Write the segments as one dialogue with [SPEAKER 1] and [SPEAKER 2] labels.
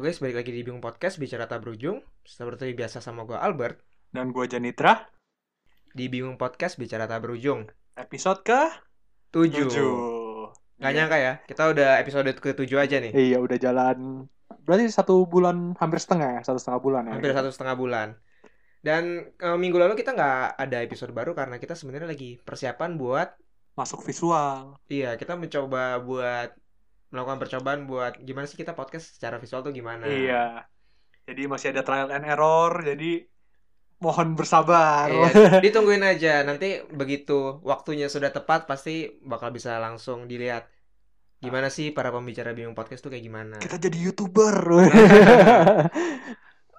[SPEAKER 1] guys, balik lagi di Bingung Podcast Bicara Tak Berujung Seperti biasa sama gue Albert
[SPEAKER 2] Dan gue Janitra,
[SPEAKER 1] Di Bingung Podcast Bicara Tak Berujung
[SPEAKER 2] episode ke Iya.
[SPEAKER 1] 7
[SPEAKER 2] 7.
[SPEAKER 1] Gak nyangka ya, kita udah episode ke-7 aja nih
[SPEAKER 2] Iya, udah jalan. Berarti satu bulan, hampir setengah ya? Satu setengah bulan ya?
[SPEAKER 1] Hampir satu setengah bulan Dan eh, minggu lalu kita nggak ada episode baru Karena kita sebenarnya lagi persiapan buat
[SPEAKER 2] Masuk visual.
[SPEAKER 1] Iya, kita mencoba buat Melakukan percobaan buat Gimana sih kita podcast secara visual tuh gimana
[SPEAKER 2] Iya. Jadi masih ada trial and error, jadi mohon bersabar.
[SPEAKER 1] Iya, ditungguin aja. Nanti begitu waktunya sudah tepat pasti bakal bisa langsung dilihat gimana sih para pembicara bingung podcast tuh kayak gimana.
[SPEAKER 2] Kita jadi YouTuber.
[SPEAKER 1] Nah.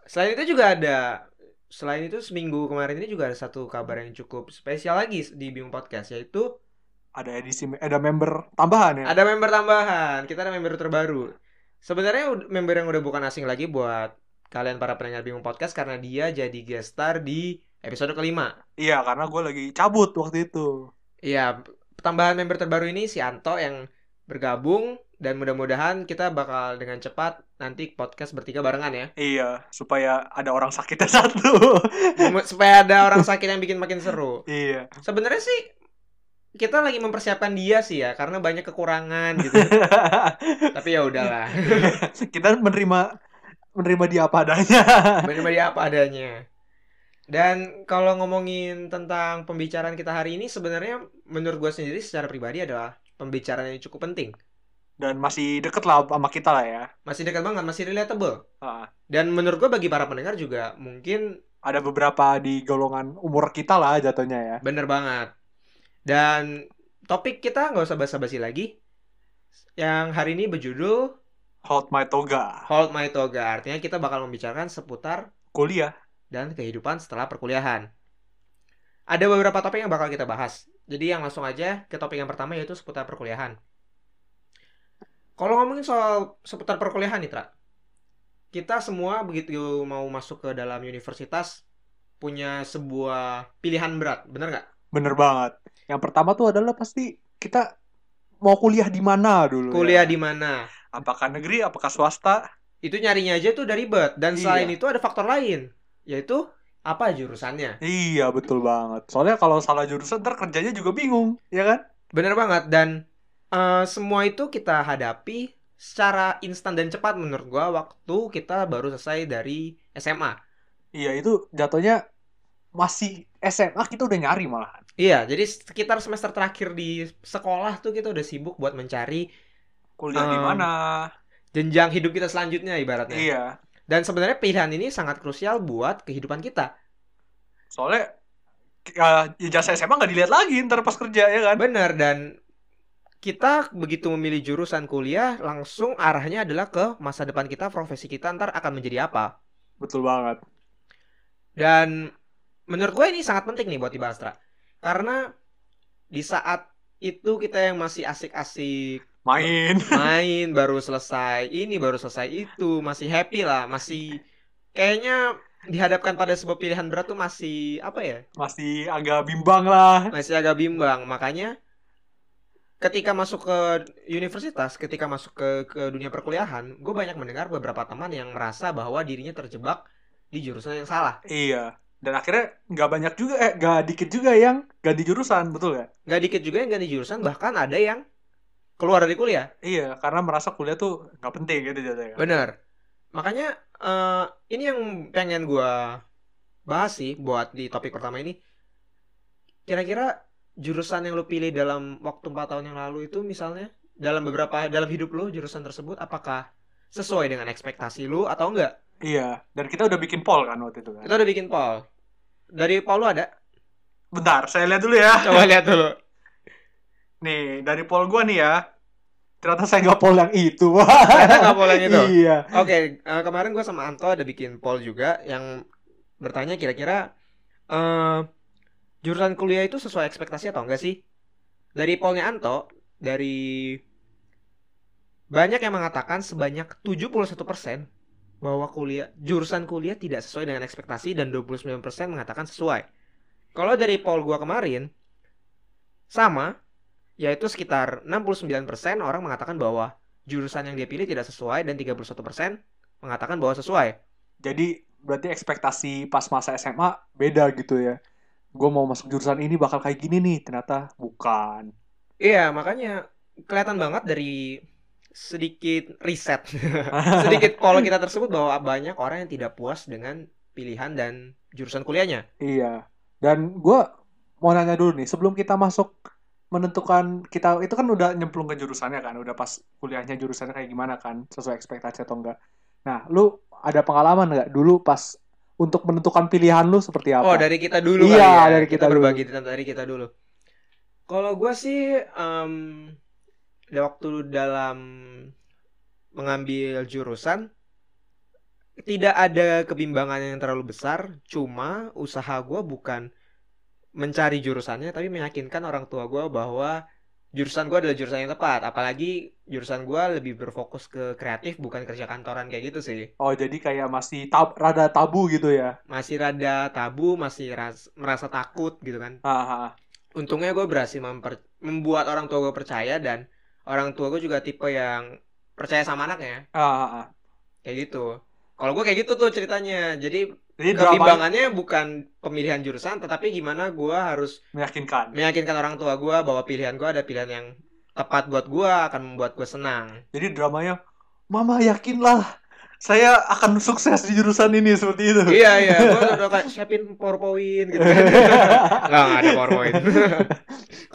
[SPEAKER 1] Selain itu juga ada selain itu seminggu kemarin ini juga ada satu kabar yang cukup spesial lagi di Bingung Podcast yaitu
[SPEAKER 2] ada edisi, ada member tambahan ya?
[SPEAKER 1] ada member tambahan. Kita ada member terbaru. Sebenarnya ud- member yang udah bukan asing lagi buat kalian para pendengar Bingung Podcast karena dia jadi guest star di episode kelima.
[SPEAKER 2] Iya, karena gue lagi cabut waktu itu.
[SPEAKER 1] Iya, tambahan member terbaru ini si Anto yang bergabung dan mudah-mudahan kita bakal dengan cepat nanti podcast bertiga barengan ya.
[SPEAKER 2] Iya, supaya ada orang sakitnya satu.
[SPEAKER 1] Supaya ada orang sakit yang bikin makin seru.
[SPEAKER 2] iya.
[SPEAKER 1] Sebenarnya sih kita lagi mempersiapkan dia sih ya karena banyak kekurangan gitu. Tapi ya udahlah.
[SPEAKER 2] Kita menerima menerima dia apa adanya.
[SPEAKER 1] Menerima dia apa adanya. Dan kalau ngomongin tentang pembicaraan kita hari ini sebenarnya menurut gue sendiri secara pribadi adalah pembicaraan yang cukup penting.
[SPEAKER 2] Dan masih deket lah sama kita lah ya.
[SPEAKER 1] Masih dekat banget, masih relatable.
[SPEAKER 2] Ah,
[SPEAKER 1] Dan menurut gue bagi para pendengar juga mungkin
[SPEAKER 2] ada beberapa di golongan umur kita lah jatuhnya ya.
[SPEAKER 1] bener banget. Dan topik kita nggak usah basa-basi lagi. Yang hari ini berjudul
[SPEAKER 2] Hold my toga.
[SPEAKER 1] Hold My Toga. Artinya kita bakal membicarakan seputar
[SPEAKER 2] Kuliah.
[SPEAKER 1] dan kehidupan setelah perkuliahan. Ada beberapa topik yang bakal kita bahas. Jadi yang langsung aja ke topik yang pertama yaitu seputar perkuliahan. Kalau ngomongin soal seputar perkuliahan nih, Tra. Kita semua begitu mau masuk ke dalam universitas punya sebuah pilihan berat, bener nggak?
[SPEAKER 2] Bener banget. Yang pertama tuh adalah pasti kita mau kuliah di mana dulu.
[SPEAKER 1] Kuliah
[SPEAKER 2] ya.
[SPEAKER 1] di mana?
[SPEAKER 2] Apakah negeri, apakah swasta?
[SPEAKER 1] Itu nyarinya aja tuh dari ribet. Dan selain
[SPEAKER 2] Iya.
[SPEAKER 1] itu ada faktor lain, yaitu apa jurusannya.
[SPEAKER 2] Iya, betul banget. Soalnya kalau salah jurusan ntar kerjanya juga bingung, ya kan?
[SPEAKER 1] Bener banget dan eh, semua itu kita hadapi secara instan dan cepat menurut gua waktu kita baru selesai dari SMA.
[SPEAKER 2] Iya, itu jatuhnya masih SMA kita udah nyari malahan.
[SPEAKER 1] Iya, jadi sekitar semester terakhir di sekolah tuh kita udah sibuk buat mencari
[SPEAKER 2] Kuliah di
[SPEAKER 1] Em,
[SPEAKER 2] mana?
[SPEAKER 1] jenjang hidup kita selanjutnya ibaratnya.
[SPEAKER 2] Iya.
[SPEAKER 1] Dan sebenarnya pilihan ini sangat krusial buat kehidupan kita.
[SPEAKER 2] Soalnya ya, ijazah SMA nggak dilihat lagi ntar pas kerja ya kan?
[SPEAKER 1] Bener dan kita begitu memilih jurusan kuliah langsung arahnya adalah ke masa depan kita, profesi kita ntar akan menjadi apa.
[SPEAKER 2] Betul banget.
[SPEAKER 1] Dan menurut gue ini sangat penting nih buat dibahas, Tra. Karena di saat itu kita yang masih asik-asik
[SPEAKER 2] Main.
[SPEAKER 1] main baru selesai ini baru selesai itu masih happy lah masih kayaknya dihadapkan pada sebuah pilihan berat tuh masih apa ya
[SPEAKER 2] Masih agak bimbang lah.
[SPEAKER 1] masih agak bimbang makanya ketika masuk ke universitas ketika masuk ke ke dunia perkuliahan gue banyak mendengar beberapa teman yang merasa bahwa dirinya terjebak di jurusan yang salah
[SPEAKER 2] Iya. Dan akhirnya nggak banyak juga, eh nggak dikit juga yang ganti jurusan, betul nggak?
[SPEAKER 1] Gak dikit juga yang ganti jurusan, bahkan ada yang keluar dari kuliah.
[SPEAKER 2] Iya, karena merasa kuliah tuh nggak penting gitu jadinya.
[SPEAKER 1] Bener. Makanya eh, ini yang pengen gua bahas sih buat di topik pertama ini. Kira-kira jurusan yang lu pilih dalam waktu 4 tahun yang lalu itu misalnya dalam beberapa dalam hidup lu jurusan tersebut apakah sesuai dengan ekspektasi lu atau enggak?
[SPEAKER 2] Iya. Dan kita udah bikin poll kan waktu itu kan.
[SPEAKER 1] Kita udah bikin poll. Dari poll lu ada?
[SPEAKER 2] Bentar, saya lihat dulu ya.
[SPEAKER 1] Coba lihat dulu.
[SPEAKER 2] Nih, dari poll gua nih ya. Ternyata saya nggak poll yang itu.
[SPEAKER 1] Ternyata nggak poll yang itu.
[SPEAKER 2] Iya.
[SPEAKER 1] Oke, eh, kemarin gue sama Anto ada bikin poll juga yang bertanya kira-kira eh jurusan kuliah itu sesuai ekspektasi atau enggak sih? Dari pollnya Anto, dari banyak yang mengatakan sebanyak 71% bahwa kuliah jurusan kuliah tidak sesuai dengan ekspektasi dan 29% mengatakan sesuai. Kalau dari poll gua kemarin sama yaitu sekitar 69% orang mengatakan bahwa jurusan yang dia pilih tidak sesuai dan 31% mengatakan bahwa sesuai.
[SPEAKER 2] Jadi berarti ekspektasi pas masa SMA beda gitu ya. Gue mau masuk jurusan ini bakal kayak gini nih, ternyata bukan.
[SPEAKER 1] Iya, makanya kelihatan banget dari sedikit riset, sedikit pola kita tersebut bahwa banyak orang yang tidak puas dengan pilihan dan jurusan kuliahnya.
[SPEAKER 2] Iya. Dan gue mau nanya dulu nih, sebelum kita masuk menentukan kita itu kan udah nyemplung ke jurusannya kan, udah pas kuliahnya jurusannya kayak gimana kan, sesuai ekspektasi atau enggak. Nah, lu ada pengalaman nggak dulu pas untuk menentukan pilihan lu seperti apa?
[SPEAKER 1] Oh, dari kita dulu kali
[SPEAKER 2] Iya,
[SPEAKER 1] ya.
[SPEAKER 2] dari kita dulu.
[SPEAKER 1] berbagi tentang dari kita dulu. Kalau gue sih em, da- waktu dalam mengambil jurusan tidak ada kebimbangan yang terlalu besar, cuma usaha gue bukan mencari jurusannya tapi meyakinkan orang tua gue bahwa jurusan gue adalah jurusan yang tepat apalagi jurusan gue lebih berfokus ke kreatif bukan kerja kantoran kayak gitu sih
[SPEAKER 2] Oh, jadi kayak masih tab- rada tabu gitu ya.
[SPEAKER 1] masih rada tabu, masih ras- merasa takut gitu kan.
[SPEAKER 2] Haha.
[SPEAKER 1] Untungnya gue berhasil memper- membuat orang tua gue percaya dan orang tua gue juga tipe yang percaya sama anaknya,
[SPEAKER 2] Haha.
[SPEAKER 1] kayak gitu. Kalau gue kayak gitu tuh ceritanya. Jadi
[SPEAKER 2] Jadi drama
[SPEAKER 1] kebimbangannya bukan pemilihan jurusan, tetapi gimana gue harus
[SPEAKER 2] meyakinkan.
[SPEAKER 1] meyakinkan orang tua gue bahwa pilihan gue ada pilihan yang tepat buat gue akan membuat gue senang.
[SPEAKER 2] Jadi dramanya, Mama yakinlah, saya akan sukses di jurusan ini seperti itu.
[SPEAKER 1] iya iya, gue udah kayak siapin powerpoint gitu. Nggak, nggak ada PowerPoint.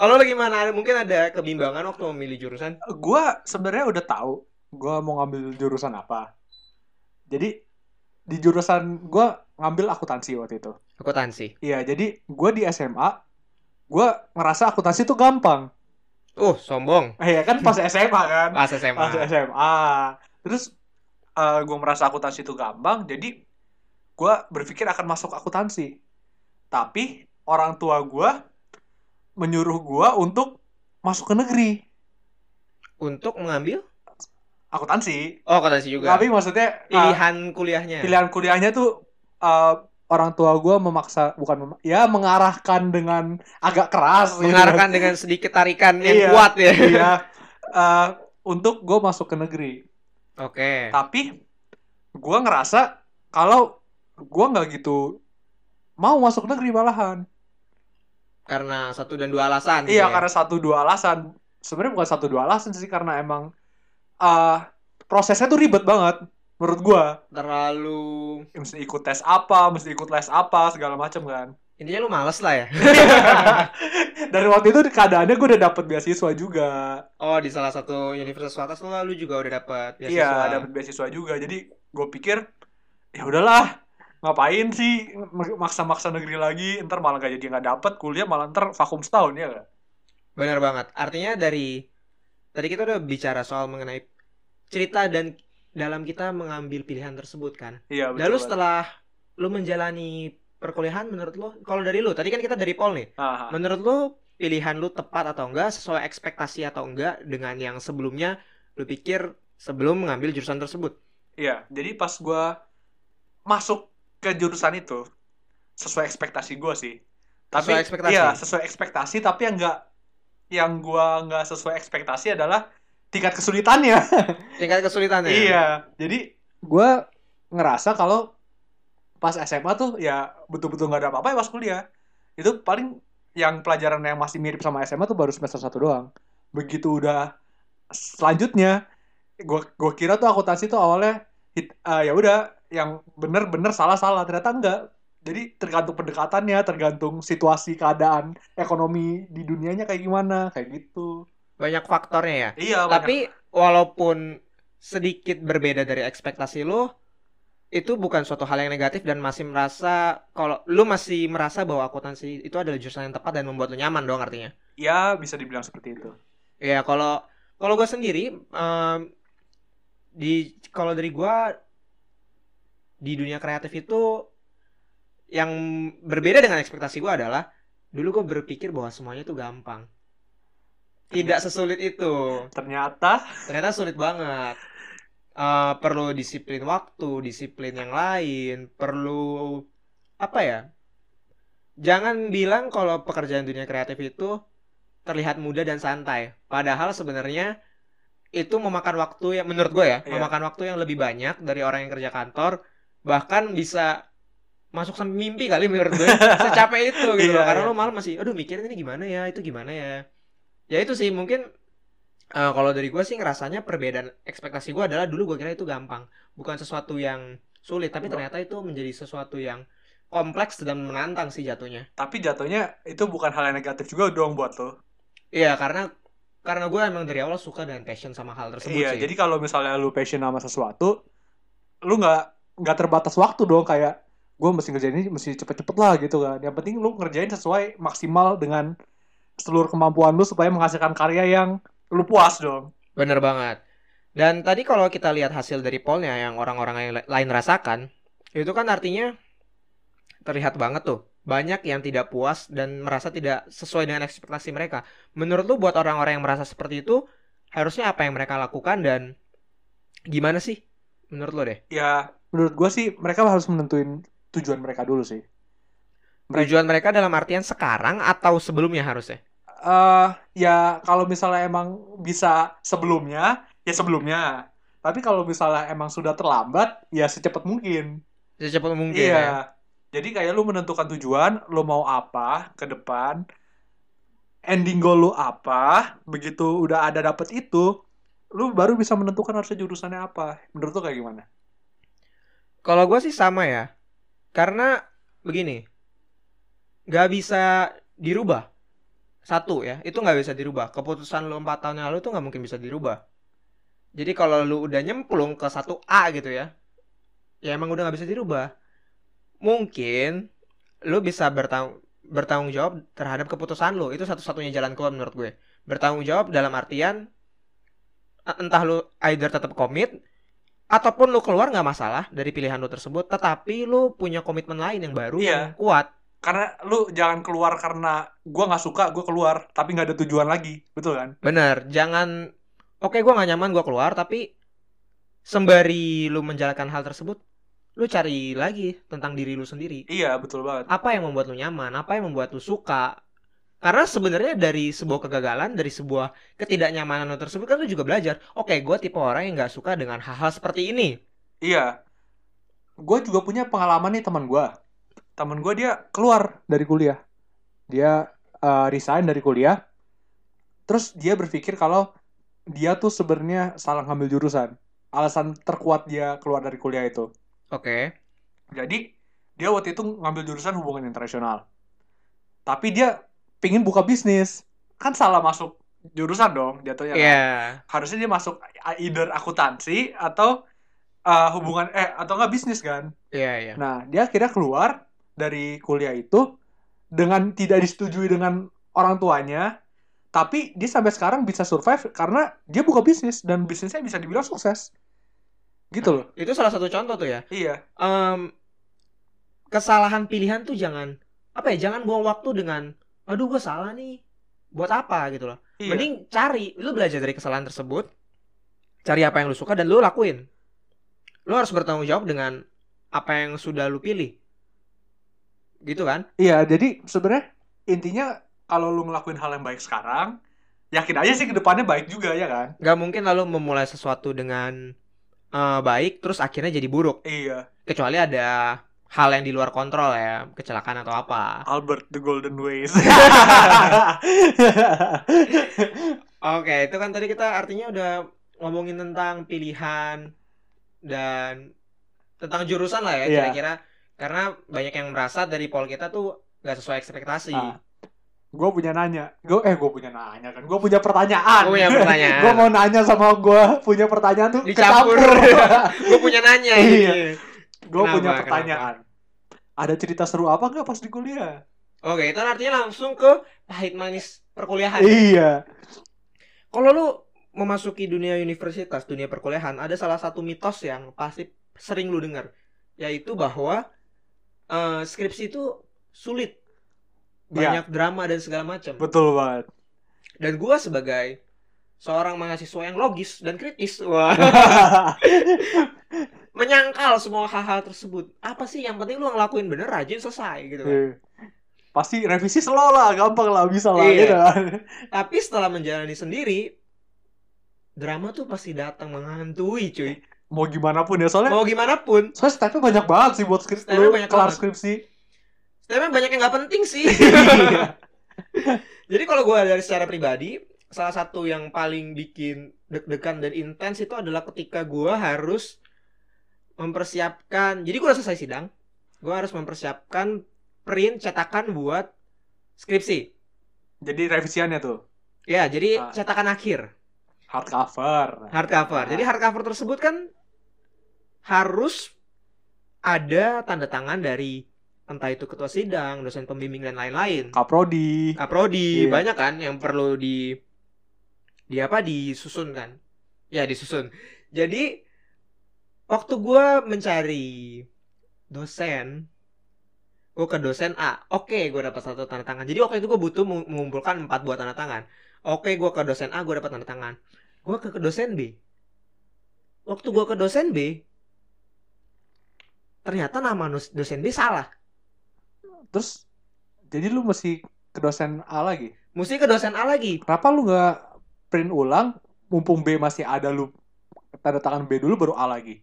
[SPEAKER 1] Kalau lo gimana? Ada- Mungkin ada kebimbangan waktu memilih jurusan?
[SPEAKER 2] gue sebenarnya udah tahu gue mau ngambil jurusan apa. Jadi di jurusan gue ngambil akuntansi waktu itu.
[SPEAKER 1] Akuntansi.
[SPEAKER 2] Iya, jadi gue di SMA, gue ngerasa akuntansi itu gampang.
[SPEAKER 1] Uh, sombong.
[SPEAKER 2] Eh, ya kan pas SMA kan.
[SPEAKER 1] Pas
[SPEAKER 2] Pas
[SPEAKER 1] SMA.
[SPEAKER 2] SMA. Terus gue merasa akuntansi itu gampang, jadi gue berpikir akan masuk akuntansi. Tapi orang tua gue menyuruh gue untuk masuk ke negeri
[SPEAKER 1] Untuk mengambil?
[SPEAKER 2] akuntansi.
[SPEAKER 1] Oh, akuntansi juga. Iya,
[SPEAKER 2] Tapi maksudnya uh,
[SPEAKER 1] Pilihan kuliahnya.
[SPEAKER 2] pilihan kuliahnya tuh uh, orang tua gue memaksa bukan mem- ya mengarahkan dengan agak keras. gitu.
[SPEAKER 1] Mengarahkan dengan sedikit tarikan yang
[SPEAKER 2] Iya.
[SPEAKER 1] kuat ya.
[SPEAKER 2] Iya. Uh, untuk gue masuk ke negeri.
[SPEAKER 1] Oke.
[SPEAKER 2] tapi gua ngerasa kalau gua nggak gitu mau masuk negeri malahan
[SPEAKER 1] Karena satu dan dua alasan. gitu ya.
[SPEAKER 2] iya karena satu dua alasan sebenarnya bukan satu dua alasan sih karena emang eh prosesnya tuh ribet banget menurut gua
[SPEAKER 1] Terlalu...
[SPEAKER 2] mesti ikut tes apa mesti ikut les apa segala macam kan
[SPEAKER 1] Intinya lu males lah ya.
[SPEAKER 2] dari waktu itu keadaannya gua udah dapet beasiswa juga
[SPEAKER 1] Oh, di salah satu universitas swasta lu, lu juga udah dapat beasiswa.
[SPEAKER 2] iya dapet beasiswa juga jadi gue pikir ya udahlah ngapain sih maksa-maksa negeri lagi ntar malah gak jadi nggak dapet kuliah malah ntar vakum setahun ya nggak?
[SPEAKER 1] Benar banget. Artinya dari tadi kita udah bicara soal mengenai cerita dan dalam kita mengambil pilihan tersebut kan.
[SPEAKER 2] iya
[SPEAKER 1] Lalu
[SPEAKER 2] banget.
[SPEAKER 1] setelah lu menjalani perkuliahan menurut lu kalau dari lu tadi kan kita dari Pol nih.
[SPEAKER 2] Aha.
[SPEAKER 1] Menurut lu pilihan lu tepat atau enggak sesuai ekspektasi atau enggak dengan yang sebelumnya lu pikir sebelum mengambil jurusan tersebut.
[SPEAKER 2] Iya, jadi pas gua masuk ke jurusan itu sesuai ekspektasi gua sih. Tapi
[SPEAKER 1] Sesuai ekspektasi?
[SPEAKER 2] iya, sesuai ekspektasi tapi yang enggak yang gua nggak sesuai ekspektasi adalah tingkat kesulitannya.
[SPEAKER 1] Tingkat kesulitannya.
[SPEAKER 2] Iya, jadi gua ngerasa kalau pas SMA tuh ya betul-betul nggak ada apa-apa ya pas kuliah. Itu paling yang pelajaran yang masih mirip sama SMA tuh baru semester 1 doang. Begitu udah selanjutnya gua gua kira tuh akuntansi tuh awalnya hit- eh, ya udah yang bener-bener salah-salah ternyata enggak. Jadi tergantung pendekatannya, tergantung situasi keadaan ekonomi di dunianya kayak gimana, kayak gitu.
[SPEAKER 1] Banyak faktornya ya.
[SPEAKER 2] Iya,
[SPEAKER 1] Tapi walaupun sedikit berbeda dari ekspektasi lo, itu bukan suatu hal yang negatif dan masih merasa kalau lu masih merasa bahwa akuntansi itu adalah jurusan yang tepat dan membuat lu nyaman dong artinya.
[SPEAKER 2] ya bisa dibilang seperti itu.
[SPEAKER 1] Ya kalau kalau gue sendiri em, di kalau dari gue di dunia kreatif itu yang berbeda dengan ekspektasi gue adalah dulu gue berpikir bahwa semuanya itu gampang. Tidak sesulit itu.
[SPEAKER 2] Ternyata
[SPEAKER 1] ternyata sulit banget Eh, perlu disiplin waktu disiplin yang lain perlu apa ya jangan bilang kalau pekerjaan dunia kreatif itu terlihat mudah dan santai padahal sebenarnya itu memakan waktu yang menurut gue ya
[SPEAKER 2] Iya.
[SPEAKER 1] memakan waktu yang lebih banyak dari orang yang kerja kantor bahkan bisa masuk sampai mimpi kali menurut gue secapek itu gitu
[SPEAKER 2] Iya,
[SPEAKER 1] loh. karena
[SPEAKER 2] iya.
[SPEAKER 1] lo malam masih aduh mikirin ini gimana ya itu gimana ya ya itu sih mungkin eh, kalau dari gue sih ngerasanya perbedaan ekspektasi gue adalah dulu gue kira itu gampang bukan sesuatu yang sulit tapi ternyata itu menjadi sesuatu yang kompleks dan menantang sih jatuhnya
[SPEAKER 2] Tapi jatuhnya itu bukan hal yang negatif juga dong buat lo.
[SPEAKER 1] iya karena karena gue emang dari awal suka dan passion sama hal tersebut
[SPEAKER 2] Iya,
[SPEAKER 1] sih
[SPEAKER 2] jadi kalau misalnya lu passion sama sesuatu, lu nggak nggak terbatas waktu dong kayak gue mesti ngerjain ini mesti cepet-cepet lah gitu kan. Yang penting lu ngerjain sesuai maksimal dengan seluruh kemampuan lu supaya menghasilkan karya yang lu puas dong.
[SPEAKER 1] Bener banget. Dan tadi kalau kita lihat hasil dari pollnya yang orang-orang yang la- lain rasakan, itu kan artinya terlihat banget tuh. Banyak yang tidak puas dan merasa tidak sesuai dengan ekspektasi mereka. Menurut lu buat orang-orang yang merasa seperti itu, harusnya apa yang mereka lakukan dan gimana sih? Menurut lu deh.
[SPEAKER 2] Ya, menurut gue sih mereka harus menentuin tujuan mereka dulu sih. Mereka-
[SPEAKER 1] Tujuan mereka dalam artian sekarang atau sebelumnya harusnya?
[SPEAKER 2] eh ya kalau misalnya emang bisa sebelumnya, ya sebelumnya. Tapi kalau misalnya emang sudah terlambat, ya secepat mungkin.
[SPEAKER 1] Secepat mungkin
[SPEAKER 2] Iya.
[SPEAKER 1] ya.
[SPEAKER 2] Jadi kayak lu menentukan tujuan, lu mau apa ke depan, ending goal lu apa, begitu udah ada dapet itu, lu baru bisa menentukan harusnya jurusannya apa. Menurut lu kayak gimana?
[SPEAKER 1] Kalau gue sih sama ya. Karena begini, nggak bisa dirubah. Satu ya, itu nggak bisa dirubah. Keputusan lu 4 tahun yang lalu tuh nggak mungkin bisa dirubah. Jadi kalau lu udah nyemplung ke satu A gitu ya, ya emang udah nggak bisa dirubah. Mungkin lu bisa bertang bertanggung jawab terhadap keputusan lu. Itu satu-satunya jalan keluar menurut gue. Bertanggung jawab dalam artian e, entah lu either tetap komit ataupun lu keluar nggak masalah dari pilihan lu tersebut tetapi lu punya komitmen lain yang baru
[SPEAKER 2] Iya.
[SPEAKER 1] yang kuat
[SPEAKER 2] Karena lu jangan keluar karena gua nggak suka, gua keluar, tapi nggak ada tujuan lagi, betul kan?
[SPEAKER 1] bener jangan oke gua nggak nyaman gua keluar tapi sembari lu menjalankan hal tersebut lu cari lagi tentang diri lu sendiri
[SPEAKER 2] Iya, betul banget.
[SPEAKER 1] apa yang membuat lu nyaman apa yang membuat lu suka karena sebenarnya dari sebuah kegagalan dari sebuah ketidaknyamanan lu tersebut kan lu juga belajar oke gua tipe orang yang nggak suka dengan hal-hal seperti ini
[SPEAKER 2] Iya. Gue juga punya pengalaman nih teman gua. Teman gua dia keluar dari kuliah. Dia eh, resign dari kuliah. Terus dia berpikir kalau dia tuh sebenarnya salah ngambil jurusan. Alasan terkuat dia keluar dari kuliah itu.
[SPEAKER 1] oke
[SPEAKER 2] Jadi dia waktu itu ngambil jurusan hubungan internasional. Tapi dia pingin buka bisnis. Kan salah masuk jurusan dong jatuhnya.
[SPEAKER 1] ya
[SPEAKER 2] kan? harusnya dia masuk either akuntansi atau uh, hubungan eh atau nggak bisnis kan
[SPEAKER 1] iya iya
[SPEAKER 2] nah dia akhirnya keluar dari kuliah itu dengan tidak disetujui dengan orang tuanya tapi dia sampai sekarang bisa survive karena dia buka bisnis dan bisnisnya bisa dibilang sukses gitu loh
[SPEAKER 1] itu salah satu contoh tuh ya
[SPEAKER 2] iya
[SPEAKER 1] em, kesalahan pilihan tuh jangan apa ya jangan buang waktu dengan aduh gue salah nih buat apa gitu loh
[SPEAKER 2] iya
[SPEAKER 1] mending cari lu belajar dari kesalahan tersebut cari apa yang lu suka dan lu lakuin lu harus bertanggung jawab dengan apa yang sudah lu pilih gitu kan
[SPEAKER 2] iya jadi sebenarnya intinya kalau lu ngelakuin hal yang baik sekarang yakin aja sih kedepannya baik juga ya kan
[SPEAKER 1] nggak mungkin lalu memulai sesuatu dengan eh, baik terus akhirnya jadi buruk
[SPEAKER 2] iya
[SPEAKER 1] kecuali ada hal yang di luar kontrol ya kecelakaan atau apa
[SPEAKER 2] Albert the Golden Ways
[SPEAKER 1] Oke, itu kan tadi kita artinya udah ngomongin tentang pilihan dan tentang jurusan lah ya
[SPEAKER 2] Iya.
[SPEAKER 1] kira-kira karena banyak yang merasa dari poll kita tuh nggak sesuai ekspektasi.
[SPEAKER 2] Ah, gue punya nanya gue eh gue punya nanya kan gue punya pertanyaan
[SPEAKER 1] Gua punya pertanyaan.
[SPEAKER 2] gue mau nanya sama gue punya pertanyaan tuh
[SPEAKER 1] Dicampur. Gue punya nanya
[SPEAKER 2] Iya.
[SPEAKER 1] ini.
[SPEAKER 2] gue
[SPEAKER 1] Kenapa,
[SPEAKER 2] punya
[SPEAKER 1] kenapa?
[SPEAKER 2] pertanyaan ada cerita seru apa nggak pas di kuliah
[SPEAKER 1] Oke, itu artinya langsung ke pahit manis perkuliahan.
[SPEAKER 2] iya
[SPEAKER 1] Kalau lu memasuki dunia universitas, dunia perkuliahan, ada salah satu mitos yang pasti sering lu dengar, yaitu bahwa eh, skripsi itu sulit.
[SPEAKER 2] Iya.
[SPEAKER 1] Banyak drama dan segala macam.
[SPEAKER 2] betul banget
[SPEAKER 1] Dan gua sebagai seorang mahasiswa yang logis dan kritis, wah, menyangkal semua hal-hal tersebut. Apa sih yang penting lu ngelakuin bener rajin selesai gitu. kan.
[SPEAKER 2] Iya. pasti revisi slow lah gampang lah bisa lah
[SPEAKER 1] Iya.
[SPEAKER 2] gitu kan
[SPEAKER 1] Tapi setelah menjalani sendiri drama tuh pasti datang menghantui cuy
[SPEAKER 2] mau gimana pun ya soalnya
[SPEAKER 1] mau gimana pun
[SPEAKER 2] soalnya stepnya banyak banget sih buat skripsi
[SPEAKER 1] Stepnya
[SPEAKER 2] lu
[SPEAKER 1] banyak
[SPEAKER 2] kelar
[SPEAKER 1] banget.
[SPEAKER 2] skripsi
[SPEAKER 1] sebenarnya banyak yang nggak penting sih
[SPEAKER 2] Iya.
[SPEAKER 1] jadi kalau gue dari secara pribadi salah satu yang paling bikin deg-degan dan intens itu adalah ketika gue harus mempersiapkan jadi gue udah selesai sidang gue harus mempersiapkan print cetakan buat skripsi
[SPEAKER 2] jadi revisiannya tuh
[SPEAKER 1] ya jadi
[SPEAKER 2] Ah.
[SPEAKER 1] cetakan akhir
[SPEAKER 2] hardcover
[SPEAKER 1] hardcover. Jadi hardcover tersebut kan harus ada tanda tangan dari entah itu ketua sidang, dosen pembimbing dan lain-lain.
[SPEAKER 2] kaprodi
[SPEAKER 1] Kaprodi
[SPEAKER 2] Iya.
[SPEAKER 1] banyak kan yang perlu di di apa disusun kan? Ya disusun. Jadi waktu gua mencari dosen gue ke dosen A, oke gue dapat satu tanda tangan. Jadi waktu itu gue butuh mu- mengumpulkan empat buah tanda tangan. Oke gue ke dosen A, gue dapat tanda tangan. Gue ke, ke dosen B. Waktu gue ke dosen B, ternyata nama nos- dosen B salah.
[SPEAKER 2] terus jadi lu mesti ke dosen A lagi
[SPEAKER 1] Mesti ke dosen A lagi.
[SPEAKER 2] kenapa lu nggak print ulang mumpung B masih ada lu tanda tangan B dulu baru A lagi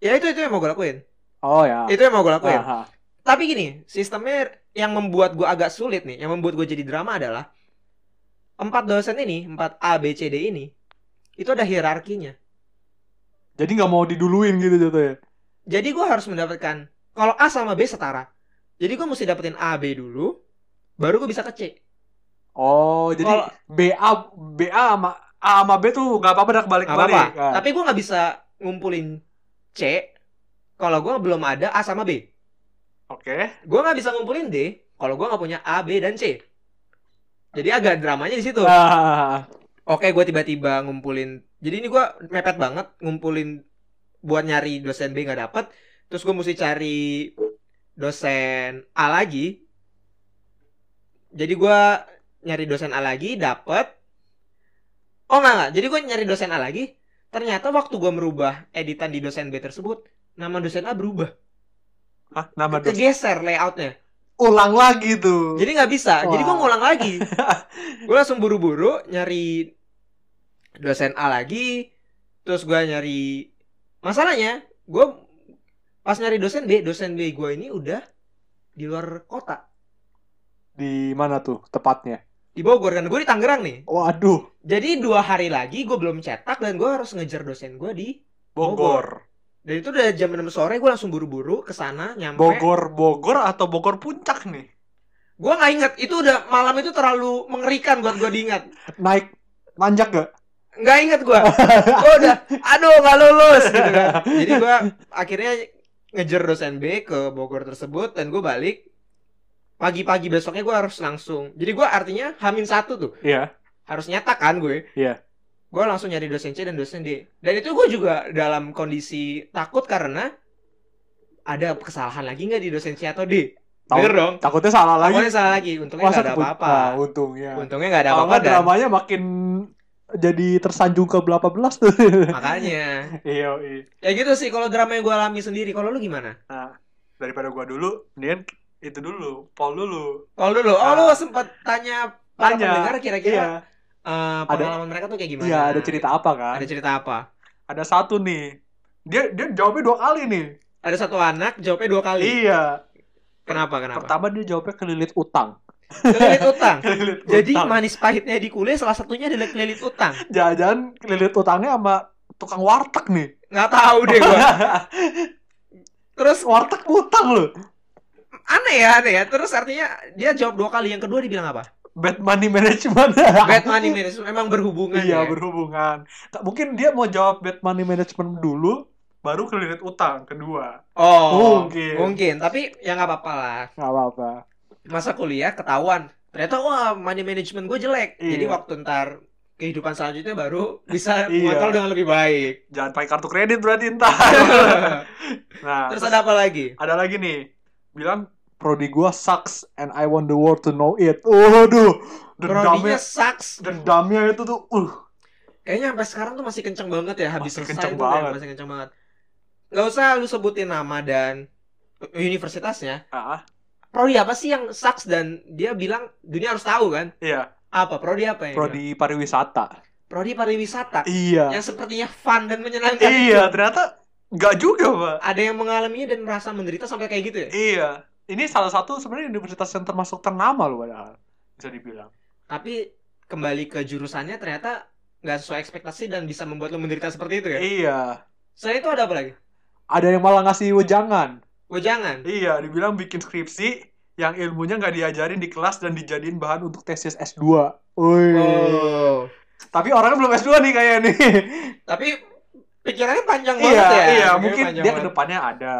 [SPEAKER 1] Ya itu itu yang mau gue lakuin.
[SPEAKER 2] oh ya
[SPEAKER 1] Itu yang mau gue lakuin.
[SPEAKER 2] Aha.
[SPEAKER 1] Tapi gini, sistemnya yang membuat gue agak sulit nih, yang membuat gue jadi drama adalah empat dosen ini, empat A, B, C, D ini, itu ada hierarkinya.
[SPEAKER 2] jadi nggak mau diduluin gitu jatuhnya
[SPEAKER 1] Jadi gue harus mendapatkan kalau A sama B setara. Jadi gue mesti dapetin A, B dulu, baru gue bisa ke C.
[SPEAKER 2] oh jadi
[SPEAKER 1] Kalau-
[SPEAKER 2] B A B A sama A sama B tuh nggak apa-apa Nah. dah kebalik
[SPEAKER 1] Gak apa-apa.
[SPEAKER 2] balik
[SPEAKER 1] Tapi gue nggak bisa ngumpulin C kalau gue belum ada A sama B.
[SPEAKER 2] oke
[SPEAKER 1] Gue nggak bisa ngumpulin D kalau gue nggak punya A, B, dan C. Jadi agak dramanya di situ.
[SPEAKER 2] Ah,
[SPEAKER 1] Oke, gue tiba-tiba ngumpulin. Jadi ini gue mepet banget ngumpulin buat nyari dosen B nggak dapet. Terus gue mesti cari dosen A lagi. Jadi gue nyari dosen A lagi, dapet. Oh nggak nggak. Jadi gue nyari dosen A lagi. Ternyata waktu gue merubah editan di dosen B tersebut, nama dosen A berubah,
[SPEAKER 2] Hah, nama dosen
[SPEAKER 1] kegeser layoutnya.
[SPEAKER 2] ulang lagi tuh
[SPEAKER 1] Jadi nggak bisa. Jadi gue
[SPEAKER 2] Wah.
[SPEAKER 1] ngulang lagi. gue langsung buru-buru nyari dosen A lagi. Terus gue nyari masalahnya gue pas nyari dosen B, dosen B gue ini udah di luar kota
[SPEAKER 2] di mana tuh tepatnya
[SPEAKER 1] di Bogor kan gue di Tangerang nih.
[SPEAKER 2] waduh
[SPEAKER 1] Jadi dua hari lagi gue belum cetak dan gue harus ngejar dosen gue di
[SPEAKER 2] Bogor
[SPEAKER 1] dan itu udah jam 6 sore gue langsung buru-buru ke sana nyampe.
[SPEAKER 2] Bogor Bogor atau Bogor Puncak nih
[SPEAKER 1] Gue nggak inget itu udah malam itu terlalu mengerikan buat gue diingat.
[SPEAKER 2] naik manjak gak
[SPEAKER 1] nggak inget gue gue udah aduh nggak lulus gitu kan jadi gue akhirnya ngejar dosen B ke Bogor tersebut dan gue balik pagi-pagi besoknya gue harus langsung jadi gue artinya hamin satu tuh
[SPEAKER 2] Iya.
[SPEAKER 1] harus nyata kan gue
[SPEAKER 2] Iya.
[SPEAKER 1] gue langsung nyari dosen C dan dosen D dan itu gue juga dalam kondisi takut karena ada kesalahan lagi nggak di dosen C atau D
[SPEAKER 2] Tahu.
[SPEAKER 1] bener dong
[SPEAKER 2] Takutnya salah lagi.
[SPEAKER 1] Pokoknya salah lagi untungnya nggak ada
[SPEAKER 2] kebut-
[SPEAKER 1] apa-apa
[SPEAKER 2] Nah, untungnya.
[SPEAKER 1] untungnya nggak ada
[SPEAKER 2] Kalau
[SPEAKER 1] apa-apa
[SPEAKER 2] nggak
[SPEAKER 1] dan
[SPEAKER 2] dramanya makin jadi tersanjung ke berapa belas tuh.
[SPEAKER 1] makanya
[SPEAKER 2] iya,
[SPEAKER 1] Ya gitu sih kalau drama yang gue alami sendiri. Kalau lu gimana?
[SPEAKER 2] Daripada gua dulu, mendingan itu dulu, Paul dulu.
[SPEAKER 1] Kalau lu, oh
[SPEAKER 2] Ah.
[SPEAKER 1] lu sempet tanya para
[SPEAKER 2] Tanya.
[SPEAKER 1] pendengar kira-kira
[SPEAKER 2] Iya,
[SPEAKER 1] eh, pengalaman mereka tuh kayak gimana?
[SPEAKER 2] iya ada cerita apa kan?
[SPEAKER 1] Ada
[SPEAKER 2] Ada,
[SPEAKER 1] cerita apa?
[SPEAKER 2] satu nih. Dia dia jawabnya dua kali nih.
[SPEAKER 1] Ada satu anak jawabnya dua kali.
[SPEAKER 2] Iya.
[SPEAKER 1] Kenapa? Kenapa?
[SPEAKER 2] Pertama dia jawabnya kelilit utang.
[SPEAKER 1] Kelilit utang.
[SPEAKER 2] Kelilit
[SPEAKER 1] Jadi
[SPEAKER 2] utang.
[SPEAKER 1] manis pahitnya di kuliah salah satunya adalah kelilit utang.
[SPEAKER 2] Jangan-jangan kelilit utangnya sama tukang warteg nih.
[SPEAKER 1] Nggak tahu
[SPEAKER 2] Iya,
[SPEAKER 1] deh gue. Terus
[SPEAKER 2] warteg utang loh.
[SPEAKER 1] aneh ya, aneh ya. Terus artinya dia jawab dua kali. Yang kedua dibilang apa?
[SPEAKER 2] Bad money management.
[SPEAKER 1] Bad money management emang berhubungan ya.
[SPEAKER 2] Iya berhubungan. Tak- Mungkin dia mau jawab bad money management dulu, baru kelilit utang kedua.
[SPEAKER 1] oh,
[SPEAKER 2] Mungkin.
[SPEAKER 1] Mungkin. Tapi ya nggak apa-apa lah.
[SPEAKER 2] Gak apa-apa.
[SPEAKER 1] masa kuliah ketahuan ternyata wah money management gue jelek
[SPEAKER 2] Iya.
[SPEAKER 1] jadi waktu ntar kehidupan selanjutnya baru bisa
[SPEAKER 2] Iya.
[SPEAKER 1] mengontrol dengan lebih baik
[SPEAKER 2] Jangan pakai kartu kredit berarti entar. nah,
[SPEAKER 1] terus ada apa lagi
[SPEAKER 2] ada lagi nih, bilang prodi gua sucks and I want the world to know it. Waduh,
[SPEAKER 1] Prodinya
[SPEAKER 2] dendamnya,
[SPEAKER 1] sucks
[SPEAKER 2] dendamnya itu tuh, uh,
[SPEAKER 1] kayaknya sampai sekarang tuh masih kenceng banget ya habis
[SPEAKER 2] Masih
[SPEAKER 1] selesai
[SPEAKER 2] kenceng
[SPEAKER 1] tuh kayak
[SPEAKER 2] banget.
[SPEAKER 1] masih kenceng banget nggak usah lu sebutin nama dan universitasnya
[SPEAKER 2] ah,
[SPEAKER 1] prodi apa sih yang sucks dan dia bilang dunia harus tahu kan
[SPEAKER 2] iya,
[SPEAKER 1] apa prodi apa ya
[SPEAKER 2] prodi pariwisata.
[SPEAKER 1] prodi pariwisata
[SPEAKER 2] Iya.
[SPEAKER 1] yang sepertinya fun dan menyenangkan itu.
[SPEAKER 2] Iya, ternyata nggak juga, Pak.
[SPEAKER 1] Ada yang mengalaminya dan merasa menderita sampai kayak gitu ya?
[SPEAKER 2] Iya. Ini salah satu sebenarnya universitas yang termasuk ternama loh padahal bisa dibilang.
[SPEAKER 1] Tapi kembali ke jurusannya ternyata nggak sesuai ekspektasi dan bisa membuat lo menderita seperti itu ya?
[SPEAKER 2] Iya.
[SPEAKER 1] Selain itu ada apa lagi?
[SPEAKER 2] Ada yang malah ngasih wejangan.
[SPEAKER 1] Wejangan.
[SPEAKER 2] Iya, dibilang bikin skripsi yang ilmunya nggak diajarin di kelas dan dijadiin bahan untuk tesis S2. Woi.
[SPEAKER 1] Oh.
[SPEAKER 2] Tapi orangnya belum S2 nih kayaknya nih.
[SPEAKER 1] Tapi pikirannya panjang
[SPEAKER 2] iya,
[SPEAKER 1] banget ya.
[SPEAKER 2] iya,
[SPEAKER 1] Pikirannya
[SPEAKER 2] mungkin
[SPEAKER 1] panjang
[SPEAKER 2] dia
[SPEAKER 1] banget.
[SPEAKER 2] kedepannya ada.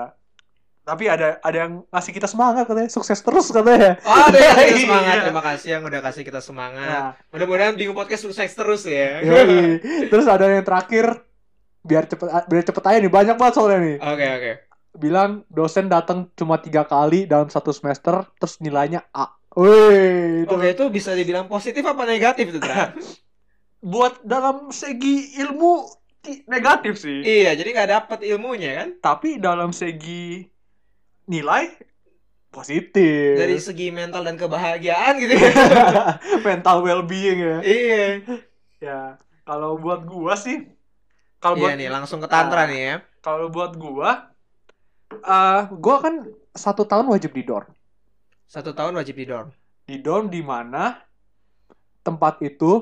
[SPEAKER 2] Tapi ada ada yang ngasih kita semangat katanya, sukses terus katanya.
[SPEAKER 1] Oh, ada yang kasih kita semangat.
[SPEAKER 2] Iya.
[SPEAKER 1] Terima kasih yang udah kasih kita semangat.
[SPEAKER 2] Nah,
[SPEAKER 1] Mudah-mudahan Bingung Podcast sukses terus ya.
[SPEAKER 2] yoi. terus ada yang terakhir biar cepet ah, biar cepet aja nih banyak banget soalnya nih.
[SPEAKER 1] Oke, oke.
[SPEAKER 2] bilang dosen datang cuma tiga kali dalam satu semester terus nilainya A. Wih, itu
[SPEAKER 1] Oke, itu bisa dibilang positif apa negatif itu, Tra?
[SPEAKER 2] buat dalam segi ilmu ti- negatif sih,
[SPEAKER 1] Iya, jadi nggak dapet ilmunya kan?
[SPEAKER 2] tapi dalam segi nilai positif.
[SPEAKER 1] Dari segi mental dan kebahagiaan gitu ya.
[SPEAKER 2] mental well-being ya.
[SPEAKER 1] iya.
[SPEAKER 2] Ya, kalau buat gua sih kalau
[SPEAKER 1] Iya
[SPEAKER 2] buat
[SPEAKER 1] nih, langsung ke Tantra nih ya.
[SPEAKER 2] kalau buat gua eh gua kan satu tahun wajib di dorm.
[SPEAKER 1] Satu tahun wajib di dorm.
[SPEAKER 2] di dorm di mana tempat itu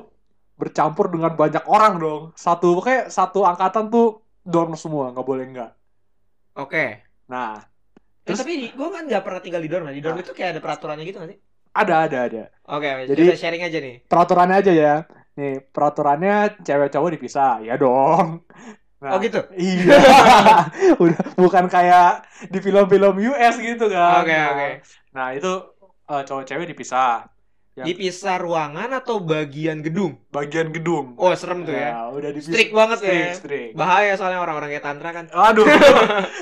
[SPEAKER 2] bercampur dengan banyak orang dong. Satu kayak satu angkatan tuh dorm semua, nggak boleh nggak.
[SPEAKER 1] Oke.
[SPEAKER 2] Nah,
[SPEAKER 1] Eh,
[SPEAKER 2] Terus-
[SPEAKER 1] tapi gue kan nggak pernah tinggal di dorm. Di dorm
[SPEAKER 2] Nah.
[SPEAKER 1] itu kayak ada peraturannya gitu nggak sih?
[SPEAKER 2] ada ada ada.
[SPEAKER 1] Oke, jadi
[SPEAKER 2] Jadi-
[SPEAKER 1] udah sharing aja nih.
[SPEAKER 2] Peraturannya aja ya. Nih, peraturannya cewek cowok dipisah, ya dong. Nah,
[SPEAKER 1] Oh gitu.
[SPEAKER 2] Iya. Udah bukan kayak di film-film US gitu kan.
[SPEAKER 1] Oke,
[SPEAKER 2] Nah,
[SPEAKER 1] oke.
[SPEAKER 2] Nah, itu eh, cowok cewek dipisah, Ya.
[SPEAKER 1] Dipisah ruangan atau bagian gedung?
[SPEAKER 2] bagian gedung.
[SPEAKER 1] Oh, serem tuh ya.
[SPEAKER 2] Nah, udah dipisah.
[SPEAKER 1] Strict banget ya.
[SPEAKER 2] Strict, strict.
[SPEAKER 1] Bahaya soalnya orang-orang kayak Tantra kan.
[SPEAKER 2] Aduh,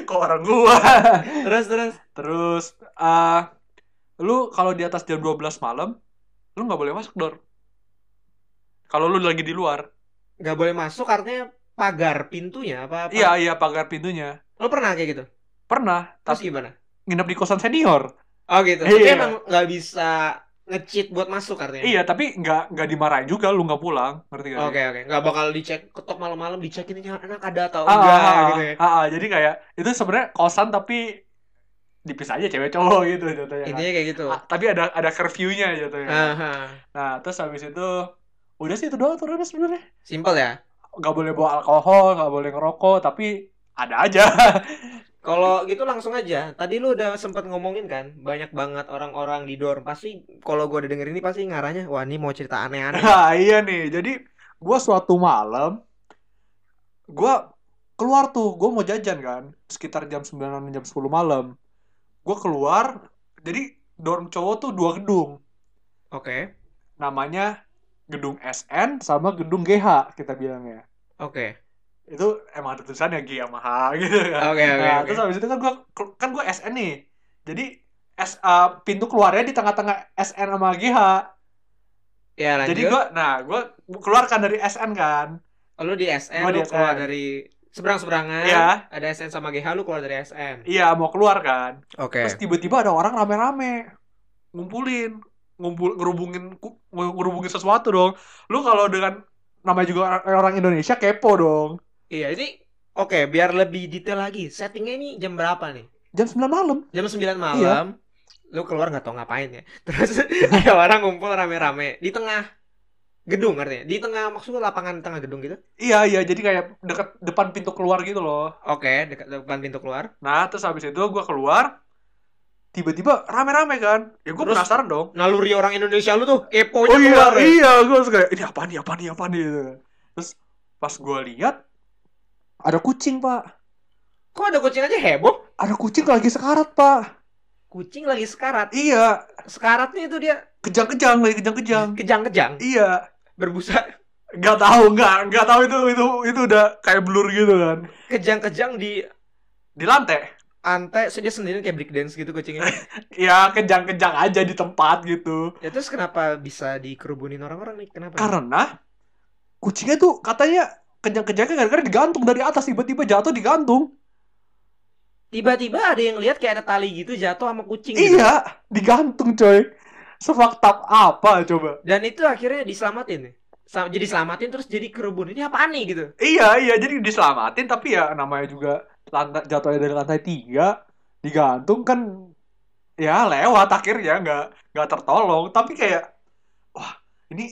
[SPEAKER 2] kok orang gua.
[SPEAKER 1] Terus, terus.
[SPEAKER 2] Terus eh lu kalau di atas jam 12 malam lu nggak boleh masuk dor. Kalau lu lagi di luar.
[SPEAKER 1] Nggak boleh masuk artinya pagar pintunya apa? apa?
[SPEAKER 2] Iya, iya pagar pintunya.
[SPEAKER 1] Lo pernah kayak gitu?
[SPEAKER 2] Pernah,
[SPEAKER 1] Terus
[SPEAKER 2] tapi
[SPEAKER 1] gimana?
[SPEAKER 2] nginep di kosan senior.
[SPEAKER 1] Oh gitu.
[SPEAKER 2] Iya.
[SPEAKER 1] Tapi emang nggak bisa nge-cheat buat masuk artinya.
[SPEAKER 2] Iya, tapi nggak nggak dimarahin juga lu nggak pulang, ngerti gak? sih?
[SPEAKER 1] Oke oke, nggak bakal dicek ketok malam-malam dicek ini anak ada atau
[SPEAKER 2] Ah,
[SPEAKER 1] enggak
[SPEAKER 2] ah, ah,
[SPEAKER 1] gitu ya.
[SPEAKER 2] ah, ah, jadi kayak itu sebenarnya kosan tapi dipisah aja cewek cowok gitu jatuhnya. kan.
[SPEAKER 1] Intinya kayak gitu.
[SPEAKER 2] Ah, iya. tapi ada ada curfew-nya jatuhnya.
[SPEAKER 1] Aha.
[SPEAKER 2] Nah, terus habis itu udah sih itu doang aturannya sebenarnya.
[SPEAKER 1] Simple ya.
[SPEAKER 2] Nggak boleh bawa alkohol, nggak boleh ngerokok, tapi ada aja.
[SPEAKER 1] Kalau gitu langsung aja. Tadi lu udah sempat ngomongin kan, banyak banget orang-orang di dorm. Pasti kalau gua udah denger ini pasti ngarahnya, wah ini mau cerita aneh-aneh.
[SPEAKER 2] Nah, iya nih. Jadi gue suatu malam gue keluar tuh, gue mau jajan kan, sekitar jam 9 jam 10 malam. Gue keluar, jadi dorm cowok tuh dua gedung,
[SPEAKER 1] Oke.
[SPEAKER 2] namanya gedung SN sama gedung GH kita bilangnya.
[SPEAKER 1] Oke.
[SPEAKER 2] Itu emang ada tulisannya G sama H gitu kan.
[SPEAKER 1] Oke oke.
[SPEAKER 2] Nah,
[SPEAKER 1] oke.
[SPEAKER 2] terus habis itu kan gue kan gue SN nih. Jadi S, eh, pintu keluarnya di tengah-tengah SN sama GH.
[SPEAKER 1] Ya lanjut.
[SPEAKER 2] Jadi gue, nah gue keluarkan dari SN kan.
[SPEAKER 1] lu Oh, di SN
[SPEAKER 2] Gua
[SPEAKER 1] lu
[SPEAKER 2] di
[SPEAKER 1] keluar
[SPEAKER 2] SN.
[SPEAKER 1] dari seberang-seberangan.
[SPEAKER 2] Iya.
[SPEAKER 1] Ada SN sama GH lu keluar dari SN.
[SPEAKER 2] Iya mau keluar kan.
[SPEAKER 1] Oke.
[SPEAKER 2] Terus tiba-tiba ada orang rame-rame ngumpulin, ngumpul ngerubungin ku- ngerubungin sesuatu dong. Lu kalau dengan namanya juga orang, eh, orang Indonesia kepo dong.
[SPEAKER 1] Iya, ini oke, biar lebih detail lagi. Settingnya ini jam berapa nih?
[SPEAKER 2] Jam 9 malam.
[SPEAKER 1] Jam 9 malam. Lu keluar nggak tau ngapain ya. Terus ada orang ngumpul rame-rame di tengah gedung artinya. Di tengah maksudnya lapangan tengah gedung gitu.
[SPEAKER 2] Iya iya jadi kayak dekat depan pintu keluar gitu loh.
[SPEAKER 1] Oke, dekat depan pintu keluar.
[SPEAKER 2] Nah, terus habis itu gua keluar tiba-tiba rame-rame kan. Ya gua
[SPEAKER 1] Terus-
[SPEAKER 2] penasaran dong.
[SPEAKER 1] Naluri orang Indonesia lu tuh kepo
[SPEAKER 2] Oh iya,
[SPEAKER 1] keluar. ya.
[SPEAKER 2] iya, gue suka ini apa nih, apa nih, apa nih. gitu. Terus pas gua lihat ada kucing pak,
[SPEAKER 1] Kok ada kucing aja heboh?
[SPEAKER 2] ada kucing lagi sekarat pak.
[SPEAKER 1] Kucing lagi sekarat.
[SPEAKER 2] Iya,
[SPEAKER 1] Sekaratnya itu dia
[SPEAKER 2] kejang-kejang lagi kejang-kejang.
[SPEAKER 1] kejang-kejang,
[SPEAKER 2] Iya,
[SPEAKER 1] berbusa
[SPEAKER 2] nggak tahu nggak nggak tahu itu itu itu udah kayak blur gitu kan.
[SPEAKER 1] kejang-kejang di
[SPEAKER 2] Di lantai,
[SPEAKER 1] antek so dia sendiri kayak break dance gitu kucingnya.
[SPEAKER 2] ya kejang-kejang aja di tempat gitu.
[SPEAKER 1] ya terus kenapa bisa dikerubunin orang-orang nih? Kenapa?
[SPEAKER 2] Karena kucingnya tuh katanya kejang-kejangnya gara-gara digantung dari atas tiba-tiba jatuh digantung.
[SPEAKER 1] Tiba-tiba ada yang lihat kayak ada tali gitu jatuh sama kucing gitu.
[SPEAKER 2] Iya, digantung coy. Sefaktap apa coba?
[SPEAKER 1] Dan itu akhirnya diselamatin. ya? sa- jadi selamatin terus jadi kerubun ini apaan nih gitu
[SPEAKER 2] Iya, iya. Jadi diselamatin tapi ya namanya juga lantai, jatuhnya dari lantai tiga digantung kan ya lewat akhirnya nggak nggak tertolong. Tapi kayak wah ini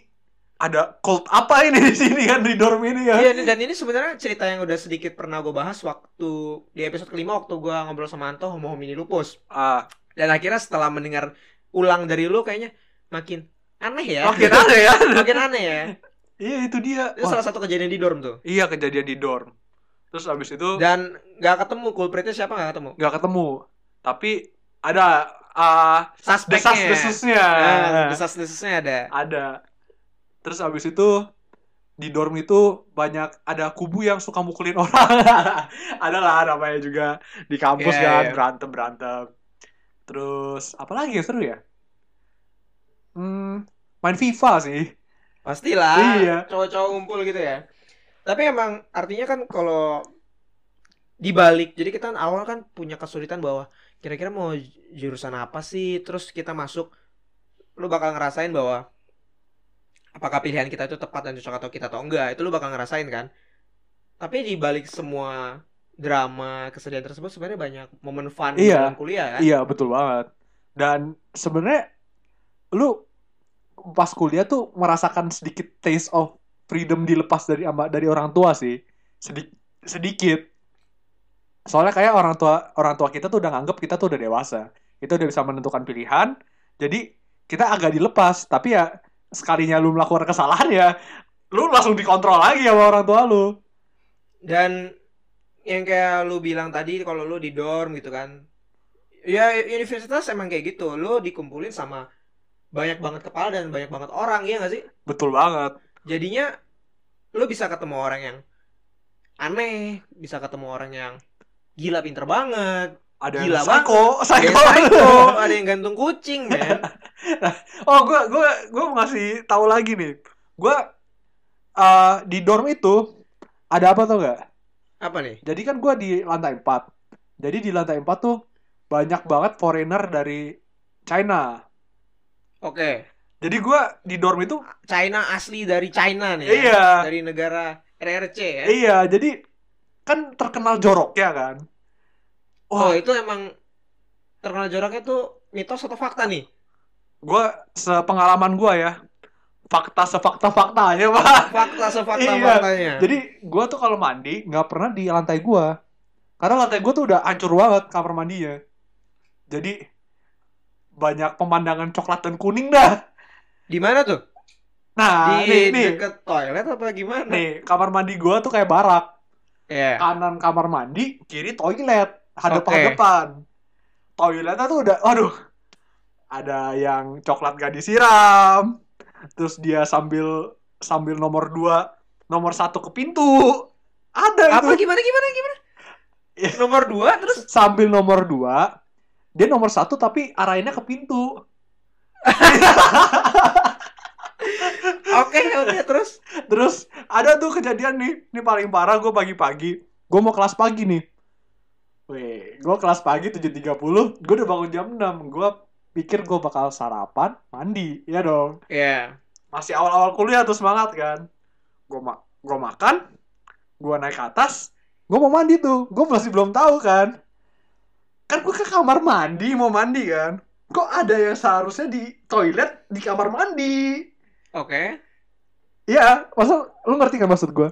[SPEAKER 2] ada cult apa ini di sini kan di dorm ini ya?
[SPEAKER 1] Iya, ini- dan ini sebenarnya cerita yang udah sedikit pernah gue bahas waktu di episode kelima waktu gue ngobrol sama Anto homo homini lupus.
[SPEAKER 2] Ah,
[SPEAKER 1] Dan akhirnya setelah mendengar ulang dari lu kayaknya makin aneh ya.
[SPEAKER 2] makin aneh ya.
[SPEAKER 1] Makin aneh ya.
[SPEAKER 2] Iya itu dia.
[SPEAKER 1] Itu
[SPEAKER 2] Wah,
[SPEAKER 1] salah satu kejadian di dorm tuh.
[SPEAKER 2] iya kejadian di dorm. Terus abis itu
[SPEAKER 1] Dan nggak ketemu culpritnya siapa nggak ketemu.
[SPEAKER 2] nggak ketemu. Tapi ada ah,
[SPEAKER 1] Suspeknya.
[SPEAKER 2] desas-desusnya. Ah.
[SPEAKER 1] Nah, desas-desusnya ada.
[SPEAKER 2] ada terus abis itu di dorm itu banyak ada kubu yang suka mukulin orang ada lah namanya juga di kampus
[SPEAKER 1] Iya,
[SPEAKER 2] kan
[SPEAKER 1] iya.
[SPEAKER 2] berantem berantem terus apalagi yang seru ya hmm, main FIFA sih
[SPEAKER 1] Pastilah.
[SPEAKER 2] Iya.
[SPEAKER 1] Cowok-cowok ngumpul gitu ya. Tapi emang artinya kan kalau dibalik. Jadi kita awal kan punya kesulitan bahwa kira-kira mau jurusan apa sih? Terus kita masuk lu bakal ngerasain bahwa apakah pilihan kita itu tepat dan cocok atau kita atau enggak. Itu lu bakal ngerasain kan. Tapi dibalik semua drama kesedihan tersebut sebenarnya banyak momen fun di
[SPEAKER 2] Iya.
[SPEAKER 1] dalam kuliah kan.
[SPEAKER 2] iya betul banget dan sebenarnya lu pas kuliah tuh merasakan sedikit taste of freedom dilepas dari ama- dari orang tua sih Sedi- sedikit soalnya kayak orang tua orang tua kita tuh udah nganggep kita tuh udah dewasa kita udah bisa menentukan pilihan jadi kita agak dilepas tapi ya sekalinya lu melakukan kesalahan ya lu langsung dikontrol lagi sama orang tua lu
[SPEAKER 1] Dan yang kayak lu bilang tadi kalau lu di dorm gitu kan. Ya universitas emang kayak gitu. Lu dikumpulin sama banyak banget kepala dan banyak banget orang ya gak sih?
[SPEAKER 2] betul banget
[SPEAKER 1] Jadinya lu bisa ketemu orang yang aneh, bisa ketemu orang yang gila pinter banget,
[SPEAKER 2] ada
[SPEAKER 1] Gila
[SPEAKER 2] yang psycho,
[SPEAKER 1] ada yang
[SPEAKER 2] psycho.
[SPEAKER 1] psycho, ada yang gantung kucing, men.
[SPEAKER 2] Oh, gue gua gua mau ngasih tahu lagi nih. Gue eh di dorm itu ada apa tau nggak?
[SPEAKER 1] Apa nih?
[SPEAKER 2] Jadi kan gue di lantai 4. Jadi di lantai 4 tuh banyak banget foreigner dari China.
[SPEAKER 1] Oke,
[SPEAKER 2] Jadi gue di dorm itu
[SPEAKER 1] China asli dari China nih. ya.
[SPEAKER 2] iya
[SPEAKER 1] Dari negara RRC ya.
[SPEAKER 2] iya jadi kan terkenal jorok ya kan.
[SPEAKER 1] Oh,
[SPEAKER 2] Wah,
[SPEAKER 1] itu emang terkenal joroknya tuh mitos atau fakta nih?
[SPEAKER 2] gue sepengalaman gue ya fakta sefakta faktanya pak.
[SPEAKER 1] fakta sefakta
[SPEAKER 2] Iya.
[SPEAKER 1] faktanya
[SPEAKER 2] Jadi gua tuh kalau mandi nggak pernah di lantai gua. Karena lantai gua tuh udah hancur banget kamar mandinya. Jadi banyak pemandangan coklat dan kuning dah.
[SPEAKER 1] di mana tuh di
[SPEAKER 2] Nah, nih nih.
[SPEAKER 1] deket toilet apa gimana
[SPEAKER 2] Nih, kamar mandi gua tuh kayak barak.
[SPEAKER 1] ya
[SPEAKER 2] Kanan kamar mandi, kiri toilet, hadap-hadapan. Toiletnya tuh udah aduh. Ada yang coklat gak disiram. Terus dia sambil sambil nomor dua, nomor satu ke pintu. Ada itu.
[SPEAKER 1] apa gimana gimana gimana
[SPEAKER 2] Ah, Iya.
[SPEAKER 1] nomor dua terus
[SPEAKER 2] sambil nomor dua dia nomor satu tapi arahinnya ke pintu
[SPEAKER 1] oke oke terus
[SPEAKER 2] terus ada tuh kejadian nih ini paling parah gue pagi-pagi gue mau kelas pagi nih Weh, gue kelas pagi 7.30 gue udah bangun jam 6 gue pikir gue bakal sarapan mandi ya dong
[SPEAKER 1] ya
[SPEAKER 2] masih awal-awal kuliah tuh semangat kan gue ma gue makan gue naik ke atas gue mau mandi tuh gue masih belum tahu kan kan gue ke kamar mandi mau mandi kan kok ada yang seharusnya di toilet di kamar mandi
[SPEAKER 1] oke
[SPEAKER 2] Iya, masa lu ngerti kan maksud gue?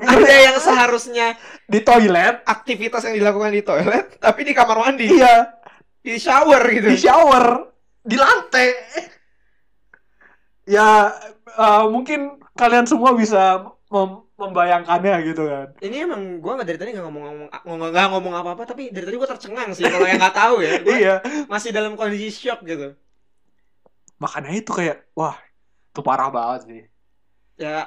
[SPEAKER 1] ada yang seharusnya
[SPEAKER 2] di toilet,
[SPEAKER 1] aktivitas yang dilakukan di toilet tapi di kamar mandi
[SPEAKER 2] iya,
[SPEAKER 1] di shower gitu
[SPEAKER 2] di shower, di lantai. Ya, eh, mungkin kalian semua bisa mem- membayangkannya gitu kan.
[SPEAKER 1] ini emang gue nggak dari tadi nggak ngomong ngomong nggak ngomong apa apa tapi dari tadi gue tercengang sih kalau yang nggak tahu ya Gua
[SPEAKER 2] Iya,
[SPEAKER 1] masih dalam kondisi shock gitu
[SPEAKER 2] makanya itu kayak, wah, itu parah banget sih.
[SPEAKER 1] ya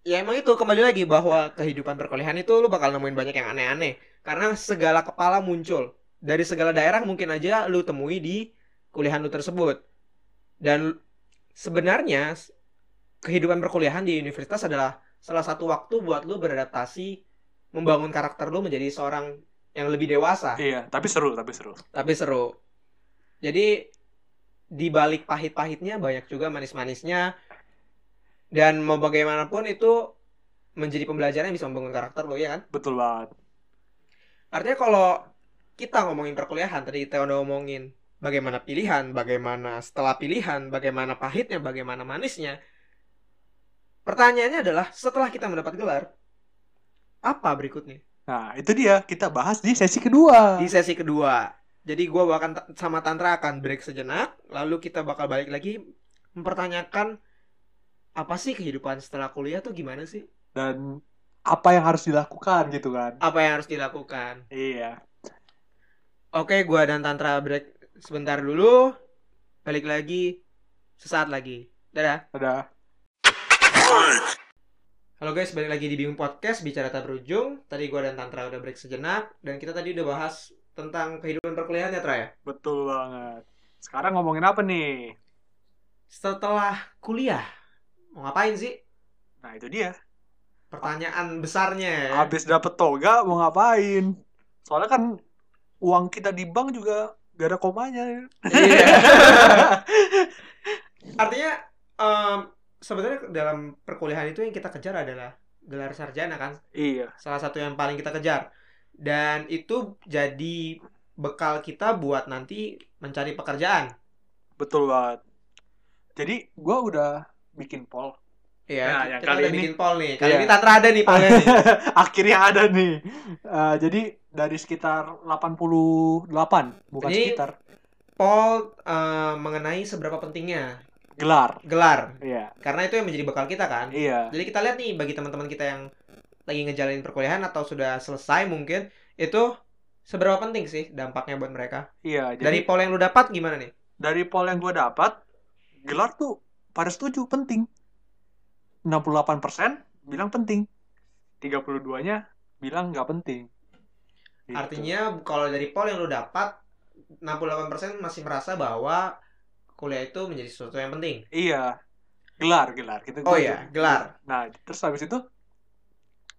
[SPEAKER 1] ya emang itu kembali lagi bahwa kehidupan perkuliahan itu lu bakal nemuin banyak yang aneh-aneh karena segala kepala muncul dari segala daerah mungkin aja lu temui di kuliahan lu tersebut dan sebenarnya s- kehidupan perkuliahan di universitas adalah salah satu waktu buat lu beradaptasi membangun karakter lu menjadi seorang yang lebih dewasa
[SPEAKER 2] Iya, tapi seru, tapi seru.
[SPEAKER 1] tapi seru jadi di balik pahit-pahitnya banyak juga manis-manisnya dan mau bagaimanapun itu menjadi pembelajaran yang bisa membangun karakter lo ya kan
[SPEAKER 2] Betul banget.
[SPEAKER 1] artinya kalau kita ngomongin perkuliahan tadi kita udah ngomongin bagaimana pilihan bagaimana setelah pilihan bagaimana pahitnya bagaimana manisnya pertanyaannya adalah setelah kita mendapat gelar apa berikutnya
[SPEAKER 2] Nah, itu dia kita bahas di sesi kedua.
[SPEAKER 1] di sesi kedua jadi gua bahkan ta- sama Tantra akan break sejenak lalu kita bakal balik lagi mempertanyakan apa sih kehidupan setelah kuliah tuh gimana sih
[SPEAKER 2] Dan apa yang harus dilakukan gitu kan?
[SPEAKER 1] apa yang harus dilakukan
[SPEAKER 2] Iya.
[SPEAKER 1] Oke, gua dan Tantra break sebentar dulu. Balik lagi sesaat lagi. Dadah.
[SPEAKER 2] Ada.
[SPEAKER 1] Halo guys, balik lagi di Bingung Podcast Bicara Tak Berujung. Tadi gua dan Tantra udah break sejenak dan kita tadi udah bahas tentang kehidupan perkuliahan ya, Tra ya.
[SPEAKER 2] Betul banget. Sekarang ngomongin apa nih?
[SPEAKER 1] Setelah kuliah, mau ngapain sih?
[SPEAKER 2] Nah, itu dia.
[SPEAKER 1] Pertanyaan besarnya. ya.
[SPEAKER 2] Eh. Habis dapet toga mau ngapain? Soalnya kan uang kita di bank juga gak ada komanya.
[SPEAKER 1] Iya. Artinya em, sebenarnya dalam perkuliahan itu yang kita kejar adalah gelar sarjana kan?
[SPEAKER 2] iya.
[SPEAKER 1] salah satu yang paling kita kejar dan itu jadi bekal kita buat nanti mencari pekerjaan
[SPEAKER 2] Betul banget. Jadi gua udah bikin poll. Nah,
[SPEAKER 1] kita-
[SPEAKER 2] yang
[SPEAKER 1] Iya. kita
[SPEAKER 2] kali
[SPEAKER 1] udah
[SPEAKER 2] ini-
[SPEAKER 1] bikin poll nih kali
[SPEAKER 2] Iya.
[SPEAKER 1] ini tantra ada nih pollnya nih
[SPEAKER 2] Akhirnya ada nih. Eh, jadi dari sekitar 88, bukan
[SPEAKER 1] Jadi-
[SPEAKER 2] sekitar,
[SPEAKER 1] poll eh, mengenai seberapa pentingnya
[SPEAKER 2] gelar.
[SPEAKER 1] gelar
[SPEAKER 2] Iya.
[SPEAKER 1] karena itu yang menjadi bekal kita kan
[SPEAKER 2] Iya.
[SPEAKER 1] jadi kita lihat nih bagi teman-teman kita yang lagi ngejalanin perkuliahan atau sudah selesai mungkin itu seberapa penting sih dampaknya buat mereka
[SPEAKER 2] Iya,
[SPEAKER 1] dari
[SPEAKER 2] jadi
[SPEAKER 1] poll yang lu dapat gimana nih
[SPEAKER 2] dari poll yang gue dapat, gelar tuh pada setuju penting. 68% bilang penting. 32-nya bilang nggak penting. Gitu.
[SPEAKER 1] Artinya kalau dari poll yang lu dapat 68% masih merasa bahwa kuliah itu menjadi sesuatu yang penting.
[SPEAKER 2] Iya. Gelar, gelar. Kita
[SPEAKER 1] Oh iya, gelar.
[SPEAKER 2] Nah, terus habis itu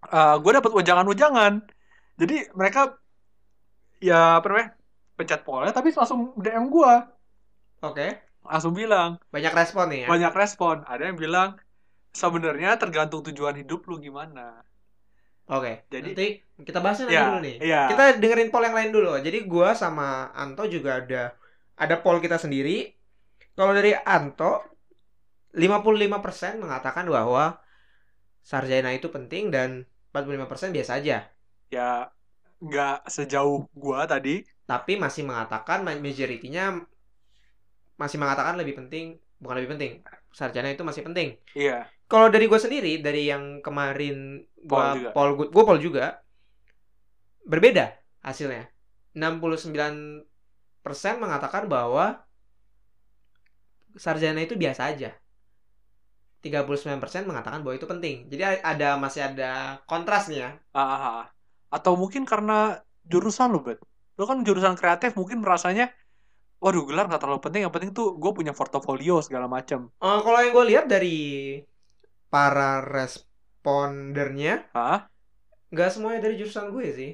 [SPEAKER 2] eh gue dapat ujangan-ujangan. Jadi mereka ya apa namanya? Pencet pollnya tapi langsung DM gue.
[SPEAKER 1] Oke.
[SPEAKER 2] Langsung bilang,
[SPEAKER 1] Banyak respon nih ya.
[SPEAKER 2] banyak respon. Ada yang bilang sebenarnya tergantung tujuan hidup lu gimana.
[SPEAKER 1] Oke.
[SPEAKER 2] Jadi-
[SPEAKER 1] nanti kita bahasnya nanti
[SPEAKER 2] Iya,
[SPEAKER 1] dulu nih.
[SPEAKER 2] iya.
[SPEAKER 1] Kita dengerin poll yang lain dulu. Jadi gua sama Anto juga ada ada poll kita sendiri. Kalau dari Anto 55% mengatakan bahwa sarjana itu penting dan 45% biasa aja.
[SPEAKER 2] Ya nggak sejauh gua tadi.
[SPEAKER 1] tapi masih mengatakan ma- majority-nya masih mengatakan lebih penting bukan lebih penting sarjana itu masih penting
[SPEAKER 2] Iya,
[SPEAKER 1] kalau dari gue sendiri dari yang kemarin gue
[SPEAKER 2] Poll juga.
[SPEAKER 1] pol gue pol juga berbeda hasilnya 69% mengatakan bahwa sarjana itu biasa aja 39% mengatakan bahwa itu penting jadi a- ada masih ada kontras nih ya
[SPEAKER 2] Ah, ah, ah. Atau mungkin karena jurusan lu, Bet. Lu kan jurusan kreatif mungkin merasanya waduh gelar nggak terlalu penting, yang penting tuh gue punya portofolio segala macam.
[SPEAKER 1] Eh, kalau yang gue lihat dari para respondernya,
[SPEAKER 2] Hah?
[SPEAKER 1] nggak semuanya dari jurusan gue sih.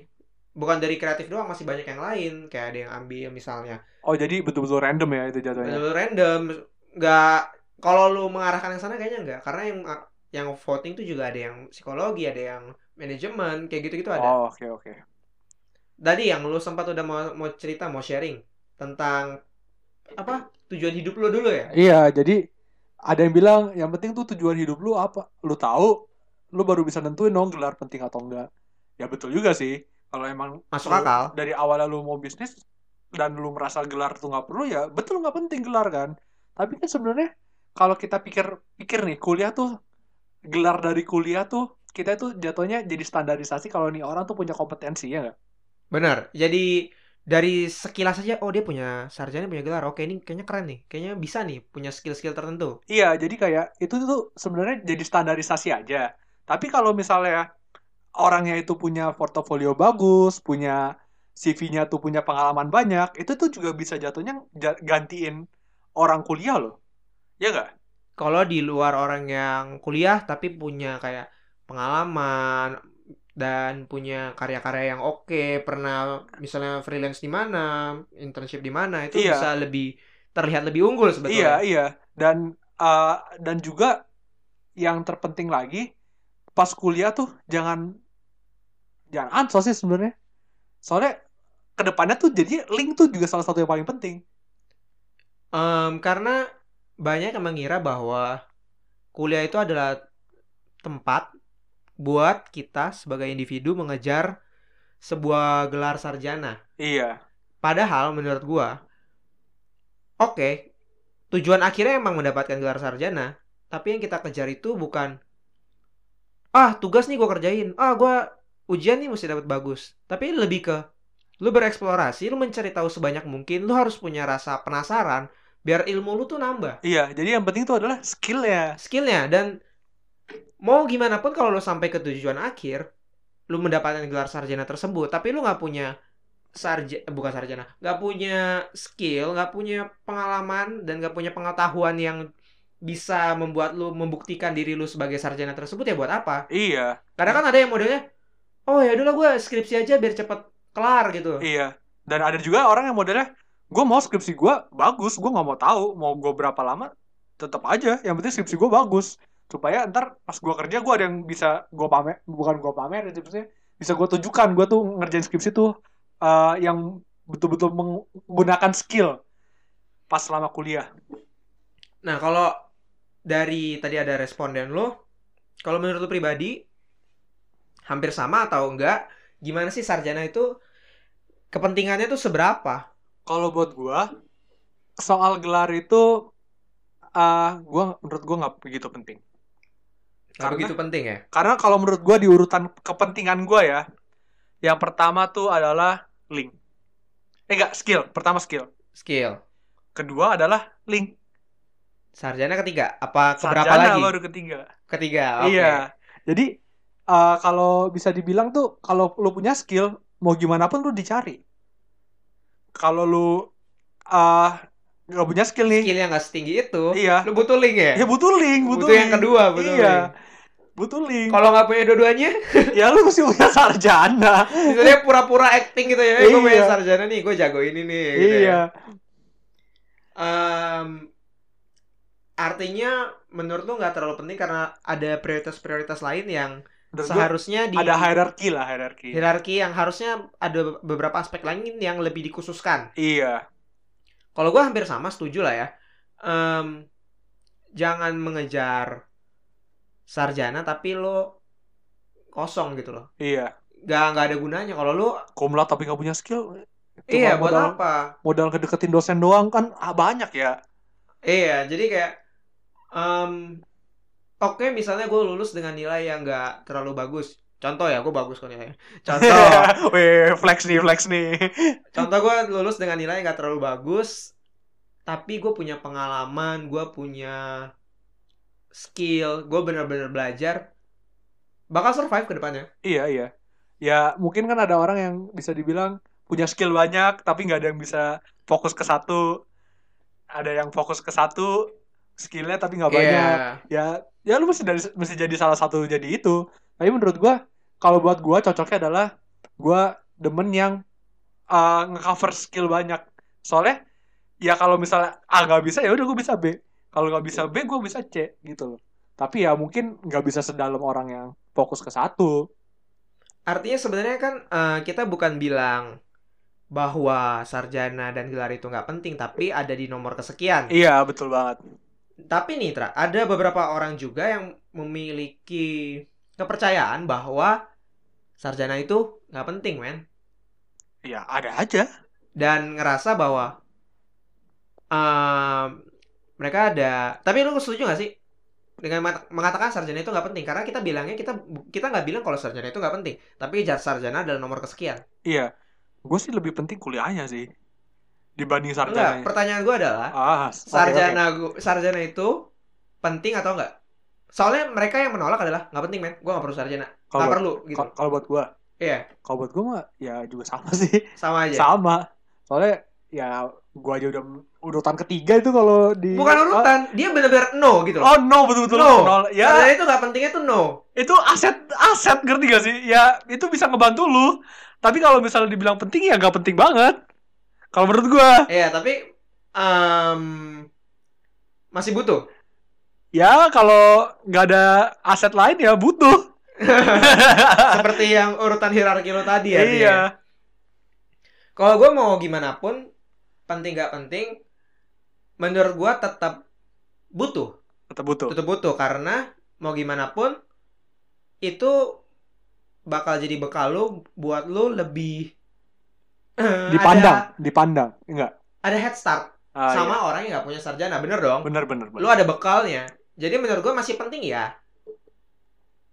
[SPEAKER 1] Bukan dari kreatif doang, masih banyak yang lain. Kayak ada yang ambil misalnya.
[SPEAKER 2] Oh, jadi betul-betul random ya itu jatuhnya.
[SPEAKER 1] Bener-bener random. Nggak, kalau lu mengarahkan yang sana kayaknya nggak. Karena yang yang voting tuh juga ada yang psikologi, ada yang manajemen, kayak gitu-gitu ada.
[SPEAKER 2] Oh, oke oke.
[SPEAKER 1] Tadi yang lu sempat udah mau, mau cerita, mau sharing tentang apa tujuan hidup lu dulu ya?
[SPEAKER 2] Iya, jadi ada yang bilang yang penting tuh tujuan hidup lu apa? Lu tahu, lu baru bisa nentuin dong gelar penting atau enggak. Ya betul juga sih. Kalau emang
[SPEAKER 1] Masuk
[SPEAKER 2] lu-
[SPEAKER 1] akal.
[SPEAKER 2] dari awal lu mau bisnis dan lu merasa gelar tuh nggak perlu ya betul nggak penting gelar kan. Tapi kan sebenarnya kalau kita pikir-pikir nih kuliah tuh gelar dari kuliah tuh kita tuh jatuhnya jadi standarisasi kalau nih orang tuh punya kompetensi ya nggak?
[SPEAKER 1] Benar. Jadi dari sekilas saja, oh dia punya sarjana, punya gelar. Oke, ini kayaknya keren nih. Kayaknya bisa nih punya skill-skill tertentu.
[SPEAKER 2] Iya, jadi kayak itu tuh sebenarnya jadi standarisasi aja. Tapi kalau misalnya orangnya itu punya portofolio bagus, punya CV-nya tuh punya pengalaman banyak, itu tuh juga bisa jatuhnya ja- gantiin orang kuliah loh. Ya nggak?
[SPEAKER 1] Kalau di luar orang yang kuliah tapi punya kayak pengalaman dan punya karya-karya yang oke, pernah misalnya freelance di mana, internship di mana, itu
[SPEAKER 2] Iya.
[SPEAKER 1] bisa lebih terlihat lebih unggul
[SPEAKER 2] Iya,
[SPEAKER 1] sebetulnya.
[SPEAKER 2] iya. Dan uh, dan juga yang terpenting lagi pas kuliah tuh jangan jangan ansos sih sebenarnya. Soalnya kedepannya tuh jadi link tuh juga salah satu yang paling penting.
[SPEAKER 1] Em, karena banyak yang mengira bahwa kuliah itu adalah tempat buat kita sebagai individu mengejar sebuah gelar sarjana.
[SPEAKER 2] Iya.
[SPEAKER 1] Padahal menurut gua, oke, tujuan akhirnya emang mendapatkan gelar sarjana, tapi yang kita kejar itu bukan ah tugas nih gua kerjain, ah gua ujian nih mesti dapat bagus, tapi lebih ke lu bereksplorasi, lu mencari tahu sebanyak mungkin, lu harus punya rasa penasaran biar ilmu lu tuh nambah
[SPEAKER 2] Iya, jadi yang penting itu adalah skill ya.
[SPEAKER 1] skillnya dan mau gimana pun kalau lo sampai ke tujuan akhir lu mendapatkan gelar sarjana tersebut tapi lu nggak punya sarja eh, bukan sarjana nggak punya skill nggak punya pengalaman dan nggak punya pengetahuan yang bisa membuat lu membuktikan diri lu sebagai sarjana tersebut ya buat apa
[SPEAKER 2] Iya,
[SPEAKER 1] karena kan ada yang modelnya oh ya udahlah gue skripsi aja biar cepet kelar gitu
[SPEAKER 2] iya. Dan ada juga orang yang modelnya, gue mau skripsi gue bagus, gue nggak mau tahu mau gue berapa lama, tetap aja. Yang penting skripsi gue bagus, supaya ntar pas gue kerja gue ada yang bisa gue pamer, bukan gue pamer, ya, maksudnya bisa gue tunjukkan gue tuh ngerjain skripsi tuh eh, yang betul-betul menggunakan skill pas selama kuliah.
[SPEAKER 1] Nah, kalau dari tadi ada responden lo, kalau menurut lo pribadi, hampir sama atau enggak? Gimana sih sarjana itu kepentingannya tuh seberapa?
[SPEAKER 2] Kalau buat gua soal gelar itu ah gua menurut gua nggak begitu penting.
[SPEAKER 1] Nggak
[SPEAKER 2] Karena-
[SPEAKER 1] begitu penting ya?
[SPEAKER 2] Karena kalau menurut gua di urutan kepentingan gua ya, yang pertama tuh adalah link. Eh enggak, skill. Pertama skill.
[SPEAKER 1] Skill.
[SPEAKER 2] Kedua adalah link.
[SPEAKER 1] Sarjana ketiga, apa keberapa
[SPEAKER 2] Sarjana
[SPEAKER 1] lagi?
[SPEAKER 2] baru ketiga.
[SPEAKER 1] Ketiga. oke.
[SPEAKER 2] Iya. Jadi eh, kalau bisa dibilang tuh kalau lu punya skill mau gimana pun lu dicari. Kalau lu eh nggak punya skill nih,
[SPEAKER 1] Skill yang nggak setinggi itu,
[SPEAKER 2] iya.
[SPEAKER 1] lo butuh link ya?
[SPEAKER 2] Ya butuh link,
[SPEAKER 1] butuh
[SPEAKER 2] butuh,
[SPEAKER 1] yang
[SPEAKER 2] link.
[SPEAKER 1] kedua, butuh
[SPEAKER 2] Iya.
[SPEAKER 1] link.
[SPEAKER 2] Butuh link.
[SPEAKER 1] Kalau nggak punya dua-duanya,
[SPEAKER 2] ya lu mesti punya sarjana.
[SPEAKER 1] misalnya pura-pura acting gitu ya. Eh, gue punya
[SPEAKER 2] Iya.
[SPEAKER 1] sarjana nih, gue jago ini nih. gitu ya.
[SPEAKER 2] iya.
[SPEAKER 1] Em, artinya menurut lu nggak terlalu penting karena ada prioritas-prioritas lain yang
[SPEAKER 2] Menurut gua
[SPEAKER 1] seharusnya di
[SPEAKER 2] ada hierarki lah, hierarki.
[SPEAKER 1] hierarki yang harusnya ada beberapa aspek lain yang lebih dikhususkan.
[SPEAKER 2] Iya.
[SPEAKER 1] Kalau gua hampir sama setuju lah ya. Em, jangan mengejar sarjana tapi lo kosong gitu loh.
[SPEAKER 2] Iya.
[SPEAKER 1] Gak nggak ada gunanya kalau lo
[SPEAKER 2] Kumlat tapi nggak punya skill. Cuma
[SPEAKER 1] iya buat
[SPEAKER 2] modal,
[SPEAKER 1] apa?
[SPEAKER 2] modal kedeketin dosen doang kan ah, banyak ya.
[SPEAKER 1] Iya, jadi kayak em, oke misalnya gue lulus dengan nilai yang nggak terlalu bagus. Contoh ya, gue bagus kok nilainya. Contoh,
[SPEAKER 2] Weh, flex nih, flex nih.
[SPEAKER 1] contoh gue lulus dengan nilai yang nggak terlalu bagus, tapi gue punya pengalaman, gue punya skill, gue bener-bener belajar, bakal survive ke depannya.
[SPEAKER 2] iya, iya. Ya, mungkin kan ada orang yang bisa dibilang punya skill banyak tapi nggak ada yang bisa fokus ke satu. Ada yang fokus ke satu skillnya
[SPEAKER 1] Iya.
[SPEAKER 2] tapi nggak banyak. ya ya lu mesti dari mesti jadi salah satu jadi itu tapi menurut gua kalau buat gua cocoknya adalah gua demen yang uh, ngecover skill banyak soalnya ya kalau misalnya A nggak bisa ya udah gua bisa B kalau nggak bisa B gua bisa C gitu loh tapi ya mungkin nggak bisa sedalam orang yang fokus ke satu
[SPEAKER 1] Artinya sebenarnya kan eh, kita bukan bilang bahwa sarjana dan gelar itu nggak penting, tapi ada di nomor kesekian.
[SPEAKER 2] iya betul banget
[SPEAKER 1] Tapi nih Tra, ada beberapa orang juga yang memiliki kepercayaan bahwa sarjana itu nggak penting men
[SPEAKER 2] ya ada aja
[SPEAKER 1] dan ngerasa bahwa um, mereka ada tapi lu setuju nggak sih dengan mat- mengatakan sarjana itu nggak penting karena kita bilangnya kita kita nggak bilang kalau sarjana itu nggak penting tapi jar- sarjana adalah nomor kesekian
[SPEAKER 2] iya gua sih lebih penting kuliahnya sih dibanding
[SPEAKER 1] enggak
[SPEAKER 2] sarjana
[SPEAKER 1] pertanyaan gua adalah
[SPEAKER 2] ah oke, oke.
[SPEAKER 1] sarjana gu- sarjana itu penting atau enggak soalnya mereka yang menolak adalah nggak penting men gua nggak perlu sarjana nggak
[SPEAKER 2] kalau buat,
[SPEAKER 1] perlu gitu
[SPEAKER 2] kalau buat gua
[SPEAKER 1] iya
[SPEAKER 2] kalau buat gua mah ya juga sama sih
[SPEAKER 1] sama aja
[SPEAKER 2] sama soalnya ya gua aja udah urutan ketiga itu kalau di
[SPEAKER 1] bukan urutan dia bener-bener no gitu loh
[SPEAKER 2] oh no betul betul
[SPEAKER 1] No.
[SPEAKER 2] ya
[SPEAKER 1] Sarjana itu nggak pentingnya tuh no
[SPEAKER 2] itu aset aset ngerti gak sih ya itu bisa ngebantu lu tapi kalau misalnya dibilang penting ya nggak penting banget kalau menurut gua
[SPEAKER 1] iya tapi em, masih butuh
[SPEAKER 2] ya kalau nggak ada aset lain ya butuh.
[SPEAKER 1] Seperti yang urutan hierarki lo tadi ya. Tia?
[SPEAKER 2] iya.
[SPEAKER 1] Kalau gue mau gimana pun, penting gak penting, menurut gue tetap butuh,
[SPEAKER 2] Tetap butuh.
[SPEAKER 1] tetap butuh karena mau gimana pun itu bakal jadi bekal lu buat lu lebih eh,
[SPEAKER 2] Dipandang, dipandang. Enggak.
[SPEAKER 1] ada, ada head start
[SPEAKER 2] Ah,
[SPEAKER 1] sama orang yang nggak punya sarjana, bener
[SPEAKER 2] iya.
[SPEAKER 1] dong.
[SPEAKER 2] Bener bener
[SPEAKER 1] Lu
[SPEAKER 2] bener.
[SPEAKER 1] ada bekalnya. Jadi menurut gue masih penting ya.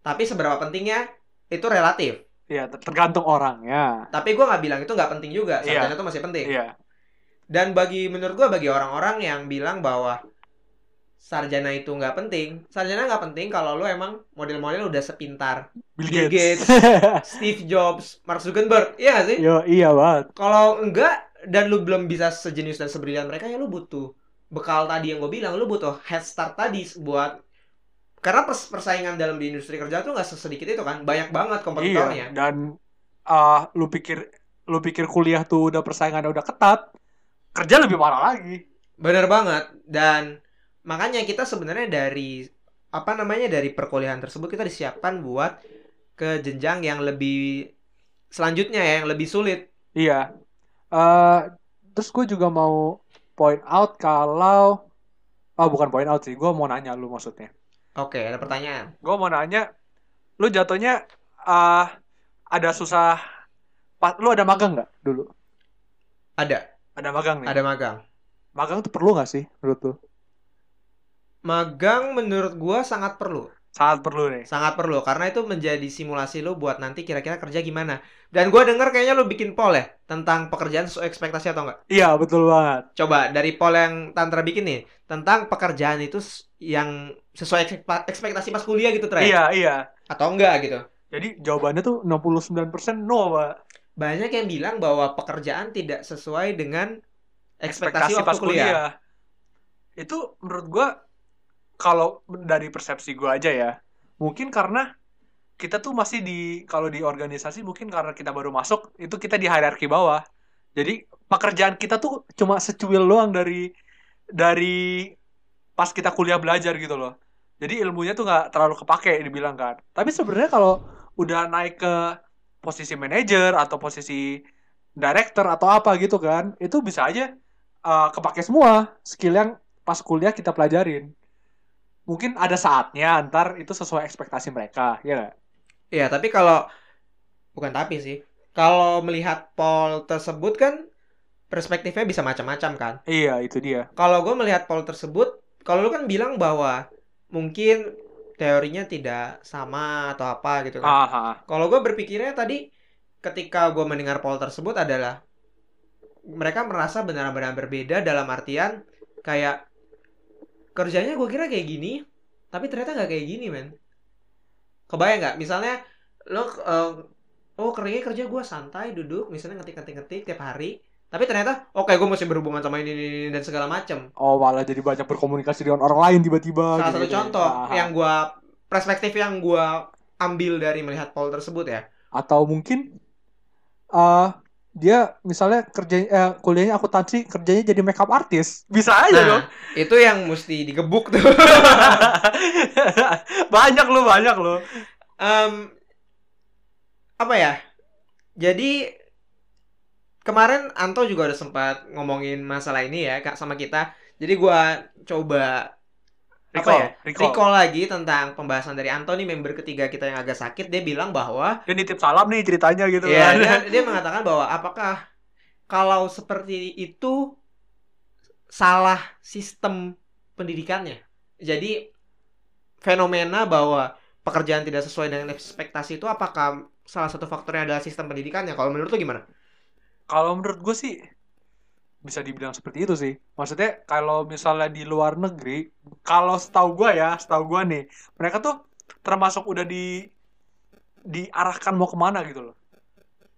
[SPEAKER 1] Tapi seberapa pentingnya itu relatif.
[SPEAKER 2] Iya, ter- tergantung orangnya.
[SPEAKER 1] Tapi gue nggak bilang itu nggak penting juga.
[SPEAKER 2] Iya.
[SPEAKER 1] Sarjana itu masih penting.
[SPEAKER 2] Iya.
[SPEAKER 1] Dan bagi menurut gue bagi orang-orang yang bilang bahwa sarjana itu nggak penting, sarjana nggak penting kalau lu emang model-model udah sepintar
[SPEAKER 2] Bill
[SPEAKER 1] Bill
[SPEAKER 2] Gates.
[SPEAKER 1] Steve Jobs, Mark Zuckerberg, iya nggak sih?
[SPEAKER 2] Yo, iya banget.
[SPEAKER 1] Kalau enggak dan lu belum bisa sejenis dan sebrilian mereka ya lu butuh bekal tadi yang gue bilang, lu butuh head start tadi buat karena pers- persaingan dalam di industri kerja tuh nggak sesedikit itu kan, banyak banget
[SPEAKER 2] Iya.
[SPEAKER 1] kompetitornya.
[SPEAKER 2] Dan ah, lu pikir lu pikir kuliah tuh udah persaingan udah ketat, kerja lebih parah lagi.
[SPEAKER 1] Bener banget dan makanya kita sebenarnya dari apa namanya dari perkuliahan tersebut kita disiapkan buat ke jenjang yang lebih selanjutnya ya yang lebih sulit.
[SPEAKER 2] Iya. Eh terus gue juga mau point out kalau oh bukan point out sih, gue mau nanya lu maksudnya.
[SPEAKER 1] Oke, ada pertanyaan.
[SPEAKER 2] Gue mau nanya lu jatuhnya eh ada susah pas lu ada magang nggak dulu?
[SPEAKER 1] Ada,
[SPEAKER 2] Ada magang nih.
[SPEAKER 1] ada magang.
[SPEAKER 2] Magang tuh perlu nggak sih menurut lu?
[SPEAKER 1] Magang menurut gua sangat perlu.
[SPEAKER 2] Sangat perlu nih.
[SPEAKER 1] sangat perlu karena itu menjadi simulasi lo buat nanti kira-kira kerja gimana dan gue denger kayaknya lo bikin poll ya tentang pekerjaan sesuai ekspektasi atau enggak
[SPEAKER 2] Iya, betul banget.
[SPEAKER 1] coba dari poll yang Tantra bikin nih tentang pekerjaan itu s- yang sesuai ekspe- ekspektasi pas kuliah gitu Trey
[SPEAKER 2] Iya, iya.
[SPEAKER 1] atau enggak gitu
[SPEAKER 2] Jadi jawabannya tuh 69% no, Pak.
[SPEAKER 1] banyak yang bilang bahwa pekerjaan tidak sesuai dengan ekspektasi, waktu
[SPEAKER 2] pas
[SPEAKER 1] kuliah.
[SPEAKER 2] Itu menurut gua kalau dari persepsi gua aja ya, mungkin karena kita tuh masih di kalau di organisasi mungkin karena kita baru masuk itu kita di hierarki bawah. Jadi pekerjaan kita tuh cuma secuil doang dari dari pas kita kuliah belajar gitu loh. Jadi ilmunya tuh nggak terlalu kepake dibilang kan. Tapi sebenarnya kalau udah naik ke posisi manajer atau posisi director atau apa gitu kan, itu bisa aja eh, kepake semua skill yang pas kuliah kita pelajarin. Mungkin ada saatnya antar itu sesuai ekspektasi mereka, ya nggak?
[SPEAKER 1] Iya, tapi kalau bukan tapi sih. Kalau melihat poll tersebut kan perspektifnya bisa macam-macam kan.
[SPEAKER 2] Iya, itu dia.
[SPEAKER 1] kalau gue melihat poll tersebut, kalau lu kan bilang bahwa mungkin teorinya tidak sama atau apa
[SPEAKER 2] Iya.
[SPEAKER 1] gitu
[SPEAKER 2] Ah.
[SPEAKER 1] kan.
[SPEAKER 2] Aha.
[SPEAKER 1] Kalau gue berpikirnya tadi ketika gue mendengar poll tersebut adalah mereka merasa benar-benar berbeda dalam artian kayak kerjanya gue kira kayak gini, tapi ternyata nggak kayak gini men. Kebayang nggak? Misalnya lo eh, oh kerja kerja gue santai duduk misalnya ngetik-ngetik-ngetik tiap hari, tapi ternyata oke gue mesti berhubungan sama ini, ini, ini dan segala macem.
[SPEAKER 2] Oh, malah jadi banyak berkomunikasi dengan orang lain tiba-tiba.
[SPEAKER 1] Salah satu
[SPEAKER 2] gitu-gitu.
[SPEAKER 1] contoh
[SPEAKER 2] gitu, Aha.
[SPEAKER 1] yang gua perspektif yang gua ambil dari melihat poll tersebut ya.
[SPEAKER 2] atau mungkin eh dia misalnya kerja eh, kuliahnya akuntansi, kerjanya jadi makeup artist. Bisa
[SPEAKER 1] Nah,
[SPEAKER 2] aja Iya dong.
[SPEAKER 1] itu yang mesti digebuk tuh.
[SPEAKER 2] banyak lo, banyak lo.
[SPEAKER 1] Em, apa ya? Jadi kemarin Anto juga udah sempat ngomongin masalah ini ya Kak sama kita. Jadi gua coba Apa
[SPEAKER 2] Recall,
[SPEAKER 1] ya?
[SPEAKER 2] recall.
[SPEAKER 1] recall lagi tentang pembahasan dari Anto nih member ketiga kita yang agak sakit dia bilang bahwa
[SPEAKER 2] Dia nitip salam nih ceritanya gitu
[SPEAKER 1] Iya,
[SPEAKER 2] kan.
[SPEAKER 1] dia, dia mengatakan bahwa apakah kalau seperti itu salah sistem pendidikannya. Jadi fenomena bahwa pekerjaan tidak sesuai dengan ekspektasi itu apakah salah satu faktornya adalah sistem pendidikannya? Kalau menurut lu gimana?
[SPEAKER 2] Kalau menurut gue sih bisa dibilang seperti itu sih. Maksudnya kalau misalnya di luar negeri, kalau setahu gue ya, setahu gue nih, mereka tuh termasuk udah di diarahkan mau kemana gitu loh.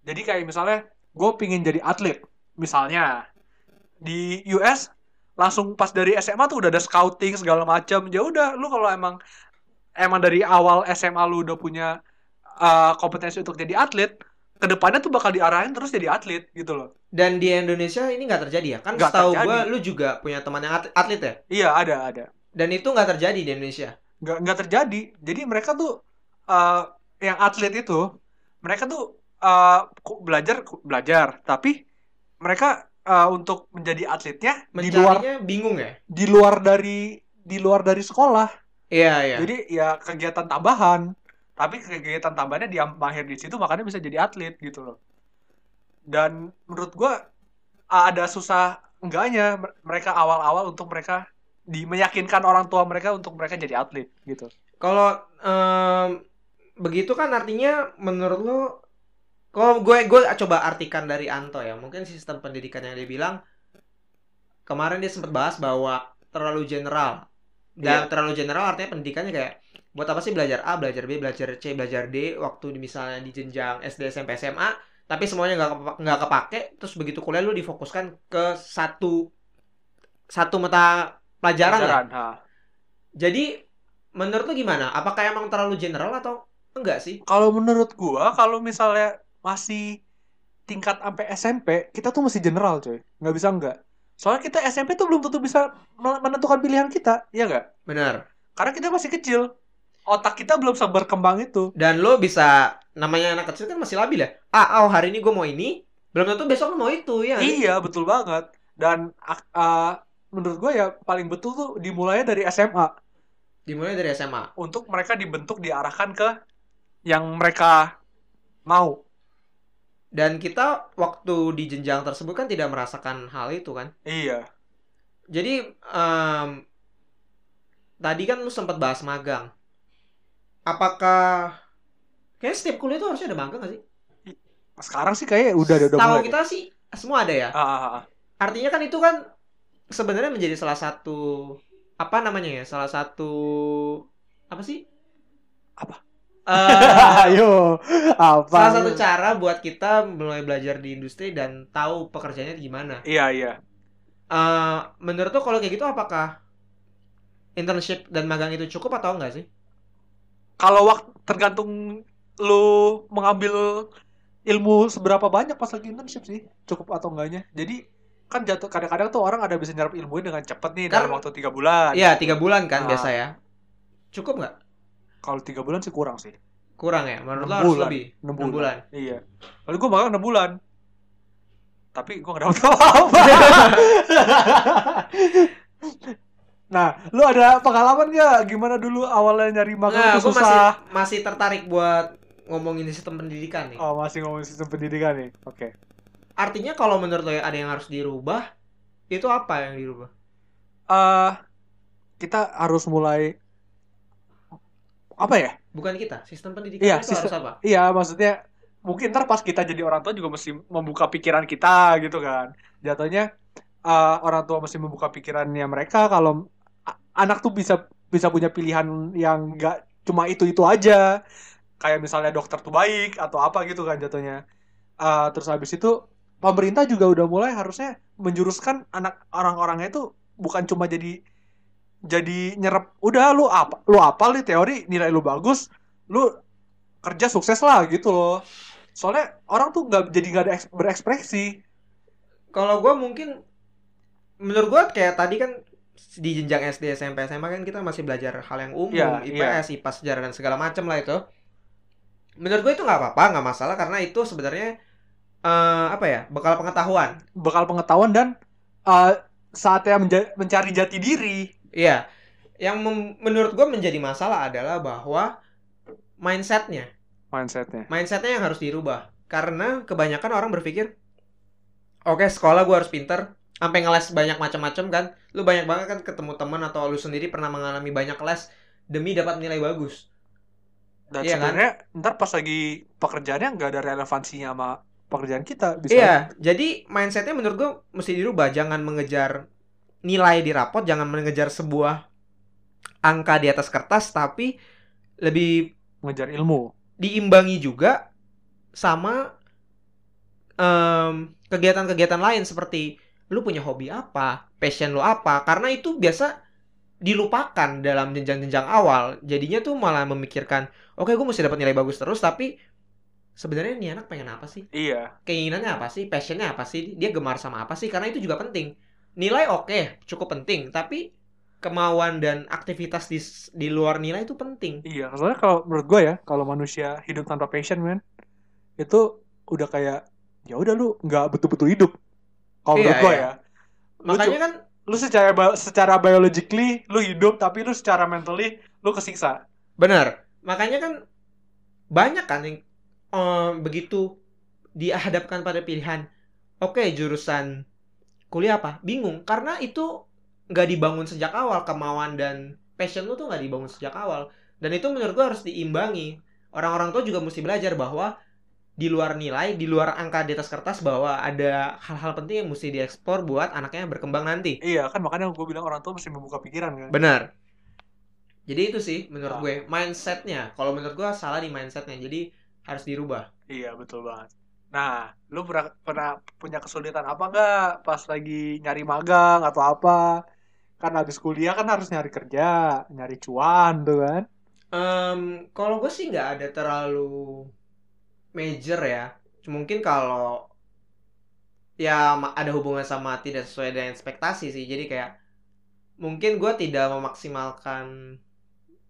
[SPEAKER 2] Jadi kayak misalnya gue pingin jadi atlet, misalnya di US langsung pas dari SMA tuh udah ada scouting segala macam. Ya udah, lu kalau emang emang dari awal SMA lu udah punya uh, kompetensi untuk jadi atlet, kedepannya tuh bakal diarahin terus jadi atlet gitu loh.
[SPEAKER 1] Dan di Indonesia ini nggak terjadi ya? Kan
[SPEAKER 2] Nggak
[SPEAKER 1] setahu
[SPEAKER 2] terjadi.
[SPEAKER 1] gua lu juga punya teman yang atlet, atlet ya?
[SPEAKER 2] Iya ada ada.
[SPEAKER 1] Dan itu nggak terjadi di Indonesia.
[SPEAKER 2] nggak nggak terjadi jadi mereka tuh eh, yang atlet itu mereka tuh eh, ku- belajar ku- belajar tapi mereka eh, untuk menjadi atletnya di luar
[SPEAKER 1] Mencarinya bingung ya?
[SPEAKER 2] di luar dari di luar dari sekolah
[SPEAKER 1] Iya, iya.
[SPEAKER 2] jadi ya kegiatan tambahan tapi kegiatan tambahannya dia mahir di situ makanya bisa jadi atlet gitu loh dan menurut gua ada susah enggaknya mer- mereka awal-awal untuk mereka di meyakinkan orang tua mereka untuk mereka jadi atlet gitu
[SPEAKER 1] Kalau em, begitu kan artinya menurut lo kalau gue gue coba artikan dari Anto ya, mungkin sistem pendidikan yang dia bilang kemarin dia sempat bahas bahwa terlalu general. Dan terlalu general artinya pendidikannya kayak buat apa sih belajar A, belajar B, belajar C, belajar D waktu di- misalnya di jenjang SD, SMP, SMA, tapi semuanya nggak kepa- nggak kepake, terus begitu kuliah lu difokuskan ke satu satu mata pelajaran, lah.
[SPEAKER 2] Pelajaran, ha.
[SPEAKER 1] Jadi menurut lu gimana? Apakah emang terlalu general atau enggak sih?
[SPEAKER 2] kalau menurut gua kalau misalnya masih tingkat sampai SMP kita tuh masih general coy nggak bisa enggak soalnya kita SMP tuh belum tentu bisa mel- menentukan pilihan kita ya nggak
[SPEAKER 1] Benar.
[SPEAKER 2] karena kita masih kecil otak kita belum seberkembang itu
[SPEAKER 1] Dan lo bisa namanya anak kecil kan masih labil ya. Ah, oh, hari ini gue mau ini, belum tentu besok lo mau itu ya. nggak sih?
[SPEAKER 2] iya betul banget dan ak- ah, menurut gua ya paling betul tuh dimulainya dari SMA
[SPEAKER 1] Dimulai dari SMA.
[SPEAKER 2] untuk mereka dibentuk diarahkan ke yang mereka mau
[SPEAKER 1] Dan kita waktu di jenjang tersebut kan tidak merasakan hal itu kan.
[SPEAKER 2] iya
[SPEAKER 1] Jadi em, tadi kan lu sempat bahas magang. Apakah Kayaknya setiap kuliah itu harusnya ada magang gak sih?
[SPEAKER 2] sekarang sih kayaknya udah udah, udah
[SPEAKER 1] Tahu
[SPEAKER 2] mulai
[SPEAKER 1] kita sih semua ada ya.
[SPEAKER 2] Ah, ah, ah.
[SPEAKER 1] artinya kan itu kan sebenarnya menjadi salah satu apa namanya ya salah satu apa sih
[SPEAKER 2] Apa?
[SPEAKER 1] Eh,
[SPEAKER 2] Ayo, apa?
[SPEAKER 1] salah satu cara buat kita mulai belajar di industri dan tahu pekerjaannya gimana
[SPEAKER 2] Iya, iya.
[SPEAKER 1] Eh, menurut lo kalau kayak gitu apakah internship dan magang itu cukup atau enggak sih
[SPEAKER 2] Kalau waktu tergantung lu mengambil ilmu seberapa banyak pas lagi internship sih, cukup atau enggaknya. Jadi kan jatuh kadang-kadang tuh orang ada bisa nyerap ilmunya dengan cepat nih dalam
[SPEAKER 1] Karena-
[SPEAKER 2] waktu tiga bulan.
[SPEAKER 1] Iya tiga bulan kan
[SPEAKER 2] Ah.
[SPEAKER 1] biasa ya cukup nggak
[SPEAKER 2] Kalau tiga bulan sih kurang sih.
[SPEAKER 1] kurang ya menurut lo
[SPEAKER 2] Enam
[SPEAKER 1] harus
[SPEAKER 2] bulan.
[SPEAKER 1] lebih
[SPEAKER 2] Enam
[SPEAKER 1] enam
[SPEAKER 2] bulan.
[SPEAKER 1] bulan
[SPEAKER 2] Iya. Lalu gua magang enam bulan. Tapi gua nggak dapat apa-apa. nah, lu ada pengalaman nggak gimana dulu awalnya nyari magang
[SPEAKER 1] nah
[SPEAKER 2] tuh
[SPEAKER 1] gue masih
[SPEAKER 2] susah?
[SPEAKER 1] masih tertarik buat ngomongin sistem pendidikan nih
[SPEAKER 2] Oh, masih ngomongin sistem pendidikan nih. Oke.
[SPEAKER 1] artinya kalau menurut lo ya, ada yang harus dirubah itu apa yang dirubah
[SPEAKER 2] eh kita harus mulai apa ya?
[SPEAKER 1] bukan kita sistem pendidikan
[SPEAKER 2] Iya,
[SPEAKER 1] itu
[SPEAKER 2] sistem-
[SPEAKER 1] harus apa
[SPEAKER 2] Iya, maksudnya mungkin ntar pas kita jadi orang tua juga mesti membuka pikiran kita gitu kan. Jatuhnya eh, orang tua mesti membuka pikirannya mereka kalau a- anak tuh bisa bisa punya pilihan yang enggak cuma itu-itu aja. Kayak misalnya dokter tuh baik atau apa gitu kan jatuhnya. Eh, terus habis itu pemerintah juga udah mulai harusnya menjuruskan anak orang-orangnya itu bukan cuma jadi jadi nyerap udah lu apa lu apal nih teori nilai lu bagus lu kerja sukses lah gitu loh soalnya orang tuh nggak jadi nggak ada eks- berekspresi
[SPEAKER 1] kalau gue mungkin menurut gue kayak tadi kan di jenjang SD SMP SMA kan kita masih belajar hal yang umum
[SPEAKER 2] Iya,
[SPEAKER 1] IPS IPA sejarah dan segala macam lah itu menurut gue itu nggak apa-apa nggak masalah karena itu sebenarnya eh, apa ya bekal pengetahuan
[SPEAKER 2] bakal pengetahuan dan eh, saatnya menja- mencari jati diri
[SPEAKER 1] iya yang mem- menurut gue menjadi masalah adalah bahwa mindsetnya
[SPEAKER 2] mindsetnya
[SPEAKER 1] mindsetnya yang harus dirubah karena kebanyakan orang berpikir oke sekolah gue harus pinter sampai ngeles banyak macam-macam kan lu banyak banget kan ketemu teman atau lu sendiri pernah mengalami banyak les demi dapat nilai bagus
[SPEAKER 2] dan
[SPEAKER 1] Iya kan?
[SPEAKER 2] sebenarnya ntar pas lagi pekerjaannya nggak ada relevansinya sama pekerjaan kita bisa
[SPEAKER 1] iya jadi mindsetnya menurut gue mesti dirubah jangan mengejar nilai di rapot jangan mengejar sebuah angka di atas kertas tapi lebih
[SPEAKER 2] ngejar ilmu
[SPEAKER 1] diimbangi juga sama em, kegiatan-kegiatan lain seperti lu punya hobi apa, passion lu apa, karena itu biasa dilupakan dalam jenjang-jenjang awal. Jadinya tuh malah memikirkan, oke gue mesti dapat nilai bagus terus, tapi sebenarnya nih anak pengen apa sih?
[SPEAKER 2] iya
[SPEAKER 1] Keinginannya apa sih? Passionnya apa sih? Dia gemar sama apa sih? Karena itu juga penting. Nilai oke, cukup penting, tapi kemauan dan aktivitas di di luar nilai itu penting.
[SPEAKER 2] Iya, soalnya kalau menurut gue ya, kalau manusia hidup tanpa passion, men, itu udah kayak ya udah lu nggak betul-betul hidup. Kalau
[SPEAKER 1] Iya,
[SPEAKER 2] menurut gue
[SPEAKER 1] iya.
[SPEAKER 2] ya, Lu
[SPEAKER 1] Makanya
[SPEAKER 2] cu-
[SPEAKER 1] kan
[SPEAKER 2] lu secara bi- secara biologically lu hidup, tapi lu secara mentally lu kesiksa.
[SPEAKER 1] benar. Makanya kan banyak kan yang eh, begitu dihadapkan pada pilihan. Oke, jurusan kuliah apa? Bingung karena itu nggak dibangun sejak awal kemauan dan passion lu tuh nggak dibangun sejak awal. Dan itu menurut gua harus diimbangi. Orang-orang tua juga mesti belajar bahwa di luar nilai, di luar angka di atas kertas bahwa ada hal-hal penting yang mesti dieksplor buat anaknya berkembang nanti.
[SPEAKER 2] Iya kan makanya gue bilang orang tua mesti membuka pikiran kan.
[SPEAKER 1] Benar. Jadi itu sih menurut
[SPEAKER 2] Ah.
[SPEAKER 1] gue mindsetnya. Kalau menurut gue salah di mindsetnya. Jadi harus dirubah.
[SPEAKER 2] Iya betul banget. Nah, lu pernah, pernah punya kesulitan apa nggak pas lagi nyari magang atau apa? Kan habis kuliah kan harus nyari kerja, nyari cuan tuh kan.
[SPEAKER 1] Em, kalau gue sih nggak ada terlalu major ya. Mungkin kalau ya ma- ada hubungan sama tidak sesuai dengan ekspektasi sih. Jadi kayak mungkin gue tidak memaksimalkan.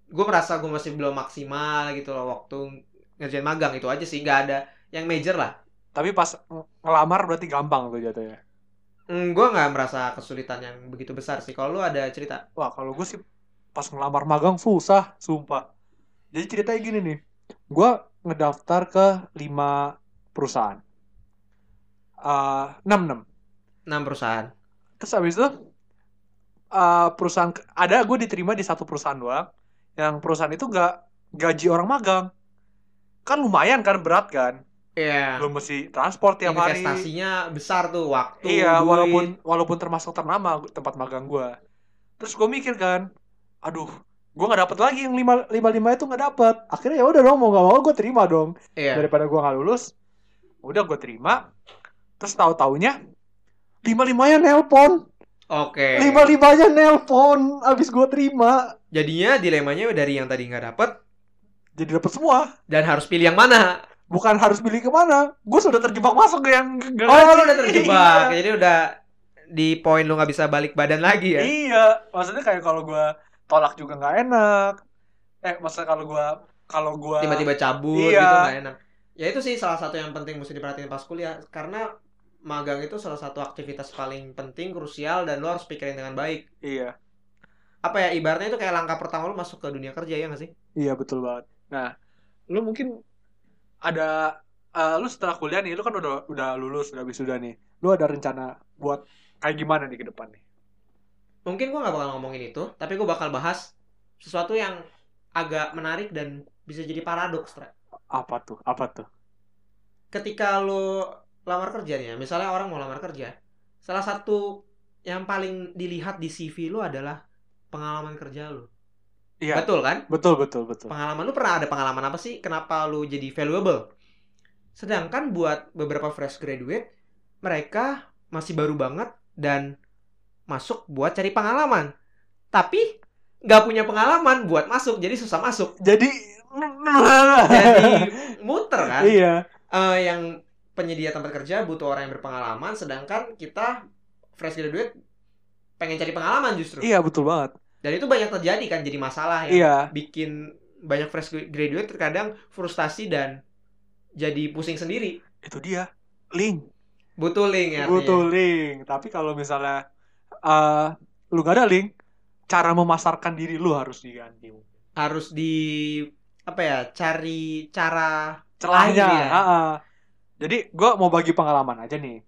[SPEAKER 1] Gue merasa gue masih belum maksimal gitu loh waktu ngerjain magang itu aja sih. Nggak ada yang major lah.
[SPEAKER 2] Tapi pas ng- ngelamar berarti gampang tuh jatuhnya.
[SPEAKER 1] Mm, gue nggak merasa kesulitan yang begitu besar sih. Kalau lu ada cerita?
[SPEAKER 2] Wah, kalau gue sih pas ngelamar magang susah, sumpah. Jadi ceritanya gini nih. Gue ngedaftar ke 5 perusahaan. Eh, 6 6.
[SPEAKER 1] 6 perusahaan.
[SPEAKER 2] Terus habis itu eh, perusahaan ada gue diterima di satu perusahaan doang. Yang perusahaan itu nggak gaji orang magang. Kan lumayan kan berat kan.
[SPEAKER 1] Iya.
[SPEAKER 2] Lu mesti transport tiap hari.
[SPEAKER 1] Investasinya besar tuh waktu,
[SPEAKER 2] Iya,
[SPEAKER 1] duit.
[SPEAKER 2] walaupun walaupun termasuk ternama gu- tempat magang gua. Terus gua mikir kan, aduh, gua nggak dapet lagi yang lima lima lima itu nggak dapet. Akhirnya ya udah dong mau nggak mau gua terima dong.
[SPEAKER 1] Iya.
[SPEAKER 2] Daripada gua nggak lulus, udah gua terima. Terus tahu taunya lima limanya nelpon,
[SPEAKER 1] Oke.
[SPEAKER 2] lima limanya nelpon. Abis gua terima,
[SPEAKER 1] Jadinya dilemanya dari yang tadi nggak dapet
[SPEAKER 2] jadi dapet semua.
[SPEAKER 1] dan harus pilih yang mana.
[SPEAKER 2] Bukan harus pilih kemana, gua sudah terjebak masuk ke yang
[SPEAKER 1] Oh,
[SPEAKER 2] nggak gaji.
[SPEAKER 1] lu udah terjebak.
[SPEAKER 2] Iya.
[SPEAKER 1] Jadi udah di poin lu nggak bisa balik badan lagi ya.
[SPEAKER 2] Iya, maksudnya kayak kalau gua tolak juga nggak enak. Eh, maksudnya kalau gua kalau gua
[SPEAKER 1] Tiba-tiba cabut
[SPEAKER 2] Iya.
[SPEAKER 1] gitu nggak enak. Ya itu sih salah satu yang penting mesti diperhatiin pas kuliah karena magang itu salah satu aktivitas paling penting, krusial dan lu harus pikirin dengan baik.
[SPEAKER 2] Iya,
[SPEAKER 1] Apa ya ibaratnya itu kayak langkah pertama lu masuk ke dunia kerja ya nggak sih?
[SPEAKER 2] iya betul banget. Nah, lu mungkin ada eh, lu setelah kuliah nih, lu kan udah udah lulus, udah wisuda nih. Lu ada rencana buat kayak gimana nih ke depan nih?
[SPEAKER 1] mungkin gue nggak bakal ngomongin itu tapi gue bakal bahas sesuatu yang agak menarik dan bisa jadi paradoks Tra.
[SPEAKER 2] Apa tuh? Apa tuh?
[SPEAKER 1] ketika lo lamar kerja nih ya misalnya orang mau lamar kerja salah satu yang paling dilihat di CV lo adalah pengalaman kerja lo
[SPEAKER 2] Iya.
[SPEAKER 1] betul kan
[SPEAKER 2] Betul, betul, betul.
[SPEAKER 1] pengalaman lo pernah ada pengalaman apa sih kenapa lo jadi valuable sedangkan buat beberapa fresh graduate mereka masih baru banget dan masuk buat cari pengalaman tapi nggak punya pengalaman buat masuk jadi susah masuk
[SPEAKER 2] Jadi
[SPEAKER 1] jadi muter kan
[SPEAKER 2] Iya.
[SPEAKER 1] Eh, yang penyedia tempat kerja butuh orang yang berpengalaman sedangkan kita fresh graduate pengen cari pengalaman justru
[SPEAKER 2] Iya, betul banget.
[SPEAKER 1] dan itu banyak terjadi kan jadi masalah ya
[SPEAKER 2] Iya.
[SPEAKER 1] bikin banyak fresh graduate terkadang frustasi dan jadi pusing sendiri
[SPEAKER 2] Itu dia. Link.
[SPEAKER 1] butuh link ya
[SPEAKER 2] butuh link tapi kalau misalnya eh, lu gak ada link cara memasarkan diri lu harus diganti
[SPEAKER 1] harus di apa ya cari cara
[SPEAKER 2] celahnya
[SPEAKER 1] Lain ya.
[SPEAKER 2] ha-ha. jadi gua mau bagi pengalaman aja nih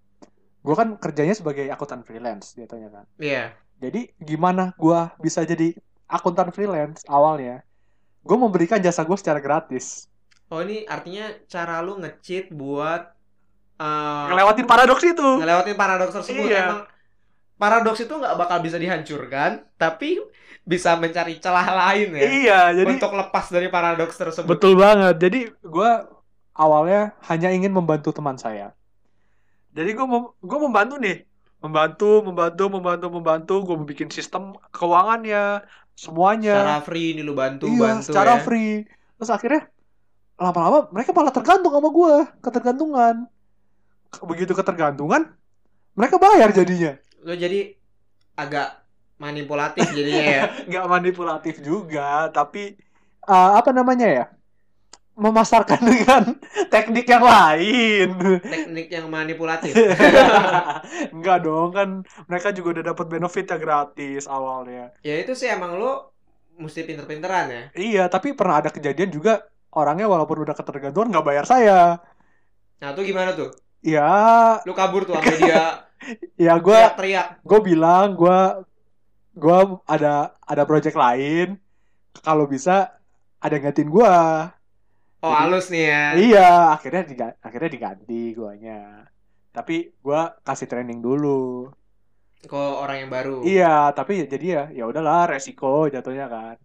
[SPEAKER 2] gua kan kerjanya sebagai akuntan freelance jatuhnya kan
[SPEAKER 1] ya
[SPEAKER 2] jadi gimana gua bisa jadi akuntan freelance awalnya gue memberikan jasa gue secara gratis
[SPEAKER 1] oh ini artinya cara lu ngecheat buat eh,
[SPEAKER 2] ngelewatin paradoks itu
[SPEAKER 1] ngelewatin paradoks tersebut
[SPEAKER 2] Iya.
[SPEAKER 1] emang paradoks itu nggak bakal bisa dihancurkan tapi bisa mencari celah lain ya
[SPEAKER 2] iya jadi
[SPEAKER 1] untuk lepas dari paradoks tersebut
[SPEAKER 2] Betul banget. Jadi gua awalnya hanya ingin membantu teman saya. Jadi gue gua membantu nih, membantu, membantu, membantu, membantu. Gue bikin sistem keuangannya, semuanya.
[SPEAKER 1] secara free ini lu bantu
[SPEAKER 2] iya,
[SPEAKER 1] bantu
[SPEAKER 2] secara
[SPEAKER 1] ya
[SPEAKER 2] free. Terus akhirnya lama-lama mereka malah tergantung sama gua ketergantungan. Begitu ketergantungan, mereka bayar jadinya.
[SPEAKER 1] lu jadi agak manipulatif jadinya ya.
[SPEAKER 2] nggak manipulatif juga tapi eh, apa namanya ya memasarkan dengan teknik yang lain
[SPEAKER 1] Teknik yang manipulatif.
[SPEAKER 2] nggak dong kan mereka juga udah dapat benefitnya gratis awalnya
[SPEAKER 1] ya itu sih emang lo mesti pinter-pinteran ya.
[SPEAKER 2] iya tapi pernah ada kejadian juga orangnya walaupun udah ketergantungan nggak bayar saya
[SPEAKER 1] Nah, tuh gimana tuh?
[SPEAKER 2] ya
[SPEAKER 1] Lu kabur tuh sampai dia
[SPEAKER 2] ya gue
[SPEAKER 1] teriak-teriak.
[SPEAKER 2] gue bilang gue gue ada ada project lain kalau bisa ada yang gantiin gue
[SPEAKER 1] Oh, halus nih ya.
[SPEAKER 2] iya akhirnya diga, akhirnya diganti guanya tapi gue kasih training dulu
[SPEAKER 1] Ke orang yang baru.
[SPEAKER 2] iya tapi ya- jadi ya ya udahlah resiko jatuhnya kan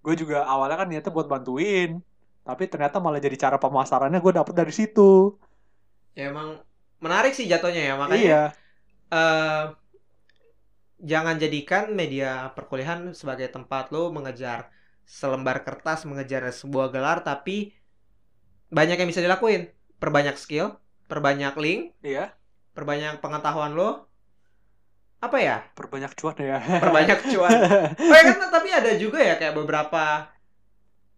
[SPEAKER 2] gue juga awalnya kan niatnya buat bantuin tapi ternyata malah jadi cara pemasarannya gue dapet dari situ
[SPEAKER 1] Ya, emang menarik sih jatuhnya ya, makanya
[SPEAKER 2] iya
[SPEAKER 1] eh jangan jadikan media perkuliahan sebagai tempat lo mengejar selembar kertas, mengejar sebuah gelar, tapi banyak yang bisa dilakuin. Perbanyak skill, perbanyak link,
[SPEAKER 2] iya
[SPEAKER 1] perbanyak pengetahuan lo. Apa ya?
[SPEAKER 2] perbanyak cuan ya
[SPEAKER 1] Perbanyak cuan. Oh ya kan, tapi ada juga ya kayak beberapa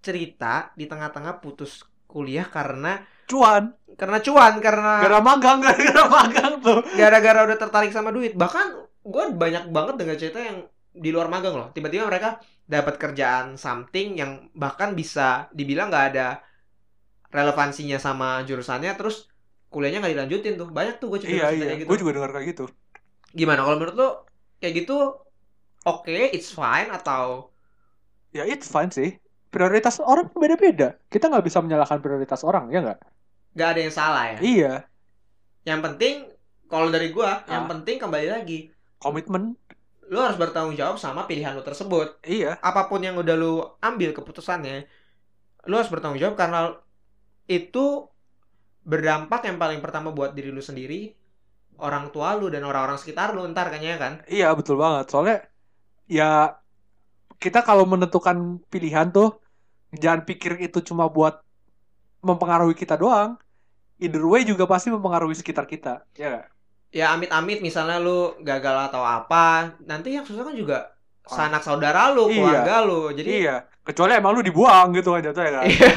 [SPEAKER 1] cerita di tengah-tengah putus kuliah karena
[SPEAKER 2] cuan
[SPEAKER 1] karena cuan, karena
[SPEAKER 2] gara magang gara magang tuh
[SPEAKER 1] gara-gara udah tertarik sama duit. Bahkan gue banyak banget dengar cerita yang di luar magang loh. Tiba-tiba mereka dapat kerjaan something yang bahkan bisa dibilang nggak ada relevansinya sama jurusannya. Terus kuliahnya nggak dilanjutin tuh. Banyak tuh gue cerita
[SPEAKER 2] iya iya
[SPEAKER 1] gitu.
[SPEAKER 2] gue juga dengar kayak gitu
[SPEAKER 1] Gimana kalau menurut lo kayak gitu? Oke, it's fine atau
[SPEAKER 2] ya it's fine sih prioritas orang beda-beda kita nggak bisa menyalahkan prioritas orang ya nggak
[SPEAKER 1] nggak ada yang salah ya?
[SPEAKER 2] iya
[SPEAKER 1] Yang penting kalau dari gua, yang
[SPEAKER 2] Ah.
[SPEAKER 1] penting kembali lagi
[SPEAKER 2] komitmen
[SPEAKER 1] lu harus bertanggung jawab sama pilihan lu tersebut.
[SPEAKER 2] iya
[SPEAKER 1] Apapun yang udah lu ambil keputusannya, lu harus bertanggung jawab karena itu berdampak yang paling pertama buat diri lu sendiri, orang tua lu dan orang-orang sekitar lu ntar kayaknya kan.
[SPEAKER 2] iya betul banget soalnya ya kita kalau menentukan pilihan tuh jangan pikir itu cuma buat mempengaruhi kita doang either way juga pasti mempengaruhi sekitar kita ya nggak?
[SPEAKER 1] Ya amit-amit misalnya lu gagal atau apa, nanti yang susah kan juga
[SPEAKER 2] Orang.
[SPEAKER 1] sanak saudara lu,
[SPEAKER 2] Ah. Iya.
[SPEAKER 1] keluarga lu. Jadi
[SPEAKER 2] iya kecuali emang lu dibuang gitu kan jatuhnya kan
[SPEAKER 1] Iya.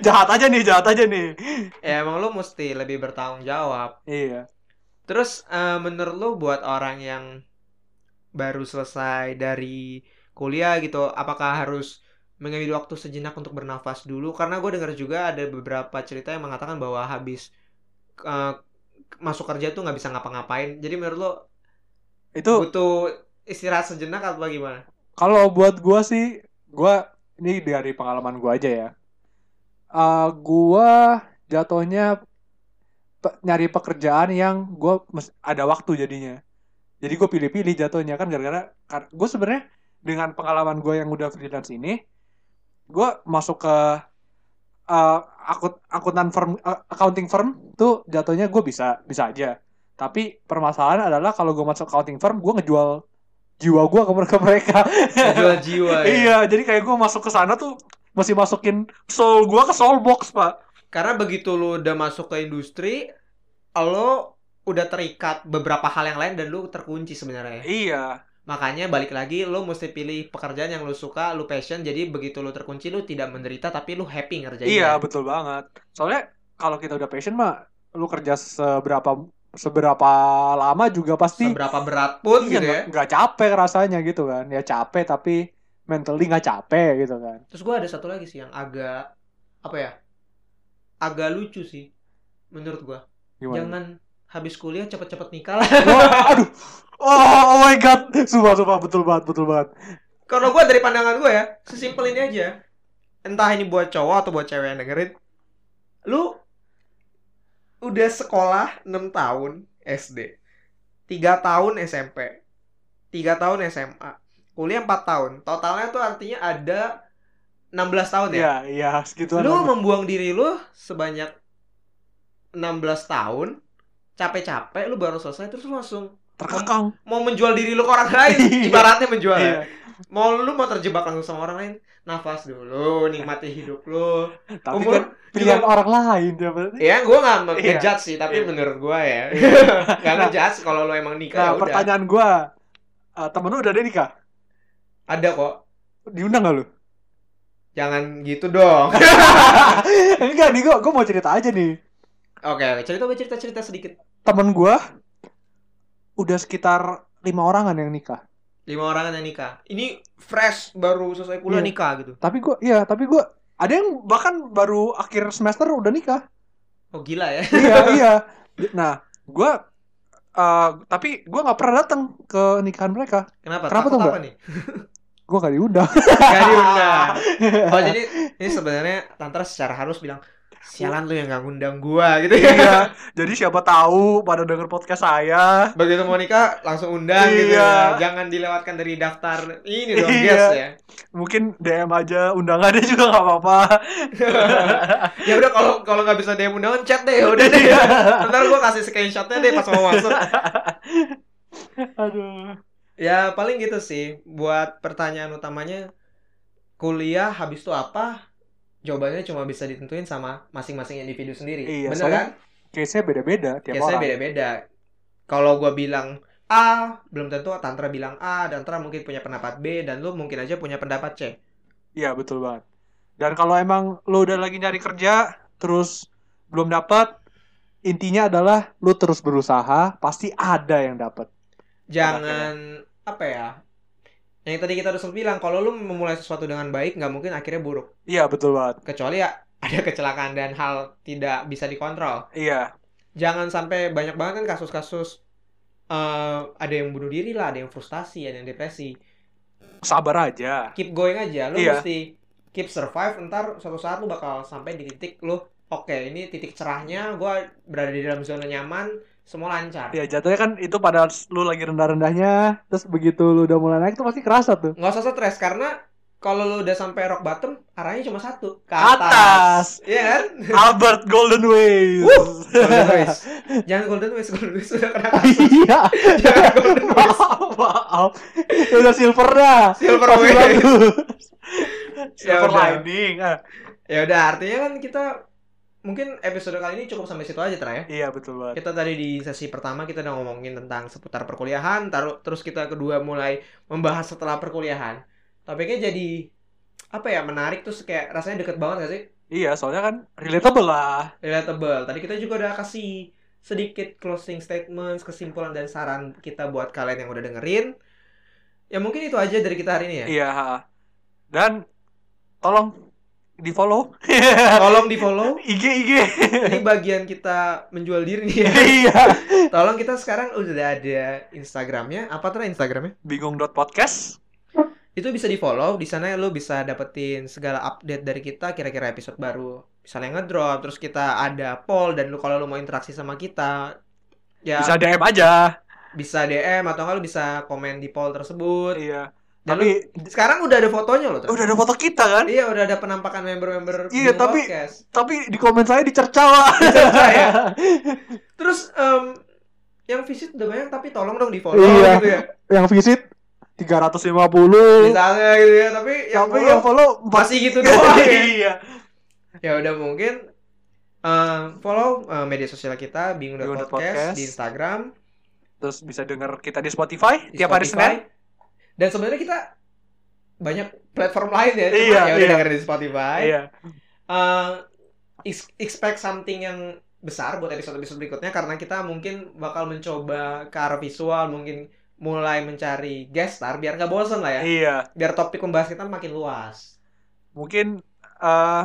[SPEAKER 2] jahat aja nih jahat aja nih
[SPEAKER 1] ya emang lu mesti lebih bertanggung jawab.
[SPEAKER 2] iya
[SPEAKER 1] Terus eh, menurut lu buat orang yang baru selesai dari kuliah gitu, apakah harus mengambil waktu sejenak untuk bernafas dulu? Karena gue dengar juga ada beberapa cerita yang mengatakan bahwa habis eh, masuk kerja tuh nggak bisa ngapa-ngapain. Jadi menurut lu
[SPEAKER 2] itu
[SPEAKER 1] butuh istirahat sejenak atau gimana?
[SPEAKER 2] Kalau buat gua sih, gua ini dari pengalaman gua aja ya. Eh gua jatuhnya pe- nyari pekerjaan yang gua mes- ada waktu jadinya. Jadi gua pilih-pilih jatuhnya kan gara-gara kar- gua sebenarnya dengan pengalaman gua yang udah freelance ini, gua masuk ke eh, akut akuntan firm eh, accounting firm tuh jatuhnya gua bisa bisa aja. Tapi permasalahan adalah kalau gua masuk accounting firm, gua ngejual jiwa gua ke ke mereka.
[SPEAKER 1] Jual jiwa ya.
[SPEAKER 2] Iya, jadi kayak gue masuk ke sana tuh masih masukin soul gua ke soul box, Pak.
[SPEAKER 1] Karena begitu lu udah masuk ke industri, lo udah terikat beberapa hal yang lain dan lu terkunci sebenarnya. ya?
[SPEAKER 2] Iya,
[SPEAKER 1] Makanya balik lagi lo mesti pilih pekerjaan yang lo suka, lo passion. Jadi begitu lo terkunci lo tidak menderita tapi lo happy ngerjainnya.
[SPEAKER 2] iya betul banget. Soalnya kalau kita udah passion mah lu kerja seberapa seberapa lama juga pasti
[SPEAKER 1] Seberapa berat pun
[SPEAKER 2] iya,
[SPEAKER 1] gitu ya.
[SPEAKER 2] nggak- nggak capek rasanya gitu kan. Ya capek tapi mentally nggak capek gitu kan.
[SPEAKER 1] Terus gue ada satu lagi sih yang agak apa ya? Agak lucu sih menurut gua.
[SPEAKER 2] Gimana?
[SPEAKER 1] Jangan habis kuliah cepet-cepet nikah lah.
[SPEAKER 2] Wah, aduh. Oh, oh my god. Sumpah, sumpah betul banget, betul banget.
[SPEAKER 1] Kalau gua dari pandangan gua ya, sesimpel ini aja. Entah ini buat cowok atau buat cewek yang dengerin. Lu udah sekolah 6 tahun SD. 3 tahun SMP. 3 tahun SMA. Kuliah 4 tahun. Totalnya tuh artinya ada 16 tahun ya.
[SPEAKER 2] Iya, iya, segituan.
[SPEAKER 1] Lu
[SPEAKER 2] banget.
[SPEAKER 1] membuang diri lu sebanyak 16 tahun capek-capek lu baru selesai terus lu langsung
[SPEAKER 2] terkekang.
[SPEAKER 1] mau menjual diri lu ke orang lain
[SPEAKER 2] Iya.
[SPEAKER 1] ibaratnya menjual ya
[SPEAKER 2] Iya.
[SPEAKER 1] mau lu mau terjebak langsung sama orang lain nafas dulu nikmati hidup lu
[SPEAKER 2] Tapi
[SPEAKER 1] Umur
[SPEAKER 2] kan pilihan orang lain dia berarti.
[SPEAKER 1] ya gue nggak me-
[SPEAKER 2] Iya.
[SPEAKER 1] ngejudge sih tapi
[SPEAKER 2] Iya.
[SPEAKER 1] menurut gue ya nggak ngejudge kalau lu emang nikah
[SPEAKER 2] Nah,
[SPEAKER 1] ya udah
[SPEAKER 2] pertanyaan gua eh, temen lu udah ada nikah?
[SPEAKER 1] Ada kok.
[SPEAKER 2] Diundang gak lu?
[SPEAKER 1] Jangan gitu dong.
[SPEAKER 2] Enggak nih, gue mau cerita aja nih.
[SPEAKER 1] Oke, oke. cerita cerita cerita sedikit.
[SPEAKER 2] Temen gue udah sekitar lima orangan yang nikah.
[SPEAKER 1] Lima orang yang nikah. Ini fresh baru selesai kuliah
[SPEAKER 2] Iya.
[SPEAKER 1] nikah gitu.
[SPEAKER 2] Tapi gue, iya, tapi gue ada yang bahkan baru akhir semester udah nikah.
[SPEAKER 1] Oh gila ya.
[SPEAKER 2] iya iya nah gue tapi gue nggak pernah datang ke nikahan mereka
[SPEAKER 1] Kenapa?
[SPEAKER 2] Kenapa
[SPEAKER 1] Takut
[SPEAKER 2] tuh,
[SPEAKER 1] apa nih?
[SPEAKER 2] gue gak diundang
[SPEAKER 1] Gak diundang. Oh jadi ini sebenarnya Tantra secara harus bilang sialan lu yang gak ngundang gua gitu ya.
[SPEAKER 2] iya jadi siapa tahu pada denger podcast saya
[SPEAKER 1] Begitu mau nikah langsung undang gitu ya.
[SPEAKER 2] Iya.
[SPEAKER 1] Jangan dilewatkan dari daftar ini dong
[SPEAKER 2] Iya.
[SPEAKER 1] guys ya.
[SPEAKER 2] mungkin dm aja undangannya juga nggak apa-apa
[SPEAKER 1] ya udah kalau kalau nggak bisa DM undangan chat deh ya udah deh.
[SPEAKER 2] Iya.
[SPEAKER 1] Ntar gua kasih screenshotnya deh pas mau masuk.
[SPEAKER 2] aduh
[SPEAKER 1] Ya paling gitu sih. Buat pertanyaan utamanya kuliah habis itu apa? Jawabannya cuma bisa ditentuin sama masing-masing individu sendiri.
[SPEAKER 2] Iya,
[SPEAKER 1] Bener
[SPEAKER 2] soalnya
[SPEAKER 1] kan?
[SPEAKER 2] case nya beda-beda tiap
[SPEAKER 1] Biasanya
[SPEAKER 2] orang
[SPEAKER 1] beda-beda. Kalau gua bilang A, belum tentu Tantra bilang A, dan Tantra mungkin punya pendapat B, dan lu mungkin aja punya pendapat C.
[SPEAKER 2] iya betul banget dan kalau emang lo udah lagi nyari kerja terus belum dapat intinya adalah lu terus berusaha pasti ada yang dapat
[SPEAKER 1] Jangan apa ya? Yang tadi kita udah sempat bilang, kalau lu memulai sesuatu dengan baik, nggak mungkin akhirnya buruk.
[SPEAKER 2] iya betul banget
[SPEAKER 1] Kecuali ya ada kecelakaan dan hal tidak bisa dikontrol.
[SPEAKER 2] iya
[SPEAKER 1] Jangan sampai banyak banget kan kasus-kasus eh, ada yang bunuh diri lah, ada yang frustasi, ada yang depresi.
[SPEAKER 2] sabar aja
[SPEAKER 1] keep going aja lu
[SPEAKER 2] Iya.
[SPEAKER 1] mesti keep survive ntar suatu saat lu bakal sampai di titik lu oke ini titik cerahnya gua berada di dalam zona nyaman semua lancar
[SPEAKER 2] Ya jatuhnya kan itu pada lu lagi rendah-rendahnya, terus begitu lu udah mulai naik tuh pasti kerasa tuh.
[SPEAKER 1] nggak usah stres karena kalau lu udah sampai rock bottom arahnya cuma satu ke
[SPEAKER 2] Atas.
[SPEAKER 1] atas, Iya kan
[SPEAKER 2] Albert Golden Ways.
[SPEAKER 1] Wuh. Golden ways. jangan golden ways golden ways udah kena kasus
[SPEAKER 2] Iya.
[SPEAKER 1] jangan golden ways
[SPEAKER 2] Maaf, maaf. Ya udah silver dah.
[SPEAKER 1] silver
[SPEAKER 2] Pasti
[SPEAKER 1] ways Ya
[SPEAKER 2] bagus. Silver
[SPEAKER 1] udah.
[SPEAKER 2] lining. Ah,
[SPEAKER 1] ya udah artinya kan kita mungkin episode kali ini cukup sampai situ aja Tra ya
[SPEAKER 2] Iya betul banget.
[SPEAKER 1] Kita tadi di sesi pertama kita udah ngomongin tentang seputar perkuliahan, taruh terus kita kedua mulai membahas setelah perkuliahan. Topiknya jadi apa ya menarik terus kayak rasanya deket banget gak sih?
[SPEAKER 2] Iya, soalnya kan relatable lah.
[SPEAKER 1] Relatable. Tadi kita juga udah kasih sedikit closing statements, kesimpulan dan saran kita buat kalian yang udah dengerin. Ya mungkin itu aja dari kita hari ini ya.
[SPEAKER 2] Iya. ha. Dan tolong di follow Iya.
[SPEAKER 1] Tolong di follow.
[SPEAKER 2] IG IG.
[SPEAKER 1] Ini bagian kita menjual diri nih ya.
[SPEAKER 2] Iya.
[SPEAKER 1] Tolong kita sekarang udah ada Instagramnya. Apa tuh Instagramnya?
[SPEAKER 2] Bingung dot podcast.
[SPEAKER 1] itu bisa di follow di sana lo bisa dapetin segala update dari kita kira-kira episode baru misalnya ngedrop terus kita ada poll dan lu kalau lu mau interaksi sama kita ya bisa,
[SPEAKER 2] Bisa DM aja.
[SPEAKER 1] DM atau nggak lu bisa komen di poll tersebut
[SPEAKER 2] Iya.
[SPEAKER 1] dan
[SPEAKER 2] Tapi
[SPEAKER 1] lu, sekarang udah ada fotonya lo
[SPEAKER 2] udah ada foto kita kan?
[SPEAKER 1] iya udah ada penampakan member-member Bingung
[SPEAKER 2] Iya, tapi-
[SPEAKER 1] Podcast.
[SPEAKER 2] tapi di komen saya dicerca lah.
[SPEAKER 1] Dicerca, ya? terus em, yang visit udah banyak tapi tolong dong di follow
[SPEAKER 2] Iya.
[SPEAKER 1] gitu ya
[SPEAKER 2] yang visit 350.
[SPEAKER 1] misalnya gitu ya tapi yang
[SPEAKER 2] tapi
[SPEAKER 1] follow
[SPEAKER 2] yang follow empat-
[SPEAKER 1] masih gitu doang ya.
[SPEAKER 2] Iya.
[SPEAKER 1] ya udah mungkin eh, follow eh, media sosial kita bingung
[SPEAKER 2] Bingung
[SPEAKER 1] podcast,
[SPEAKER 2] Podcast.
[SPEAKER 1] di Instagram
[SPEAKER 2] Terus bisa denger kita di Spotify
[SPEAKER 1] di
[SPEAKER 2] tiap hari
[SPEAKER 1] Spotify.
[SPEAKER 2] Senin.
[SPEAKER 1] dan sebenarnya kita banyak platform lain ya cuma
[SPEAKER 2] Iya,
[SPEAKER 1] ya udah
[SPEAKER 2] iya.
[SPEAKER 1] dengerin di Spotify
[SPEAKER 2] Iya.
[SPEAKER 1] Eh, ex- expect something yang besar buat episode-episode berikutnya karena kita mungkin bakal mencoba ke arah visual mungkin mulai mencari guest star biar nggak bosen lah ya
[SPEAKER 2] Iya.
[SPEAKER 1] biar topik pembahas kita makin luas
[SPEAKER 2] Mungkin eh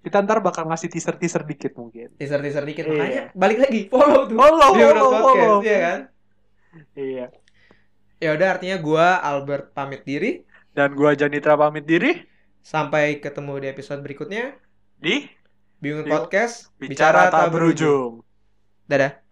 [SPEAKER 2] kita ntar bakal ngasih teaser-teaser dikit mungkin.
[SPEAKER 1] teaser teaser dikit
[SPEAKER 2] Iya. Oh,
[SPEAKER 1] makanya balik lagi follow tuh
[SPEAKER 2] Follow,
[SPEAKER 1] di Bingung
[SPEAKER 2] follow,
[SPEAKER 1] podcast
[SPEAKER 2] follow.
[SPEAKER 1] iya kan
[SPEAKER 2] Iya.
[SPEAKER 1] Ya udah artinya gua Albert pamit diri.
[SPEAKER 2] Dan gua Janitra pamit diri
[SPEAKER 1] Sampai ketemu di episode berikutnya.
[SPEAKER 2] di
[SPEAKER 1] Bingung
[SPEAKER 2] Bingung.
[SPEAKER 1] Podcast
[SPEAKER 2] Bicara Tak Berujung.
[SPEAKER 1] Dadah.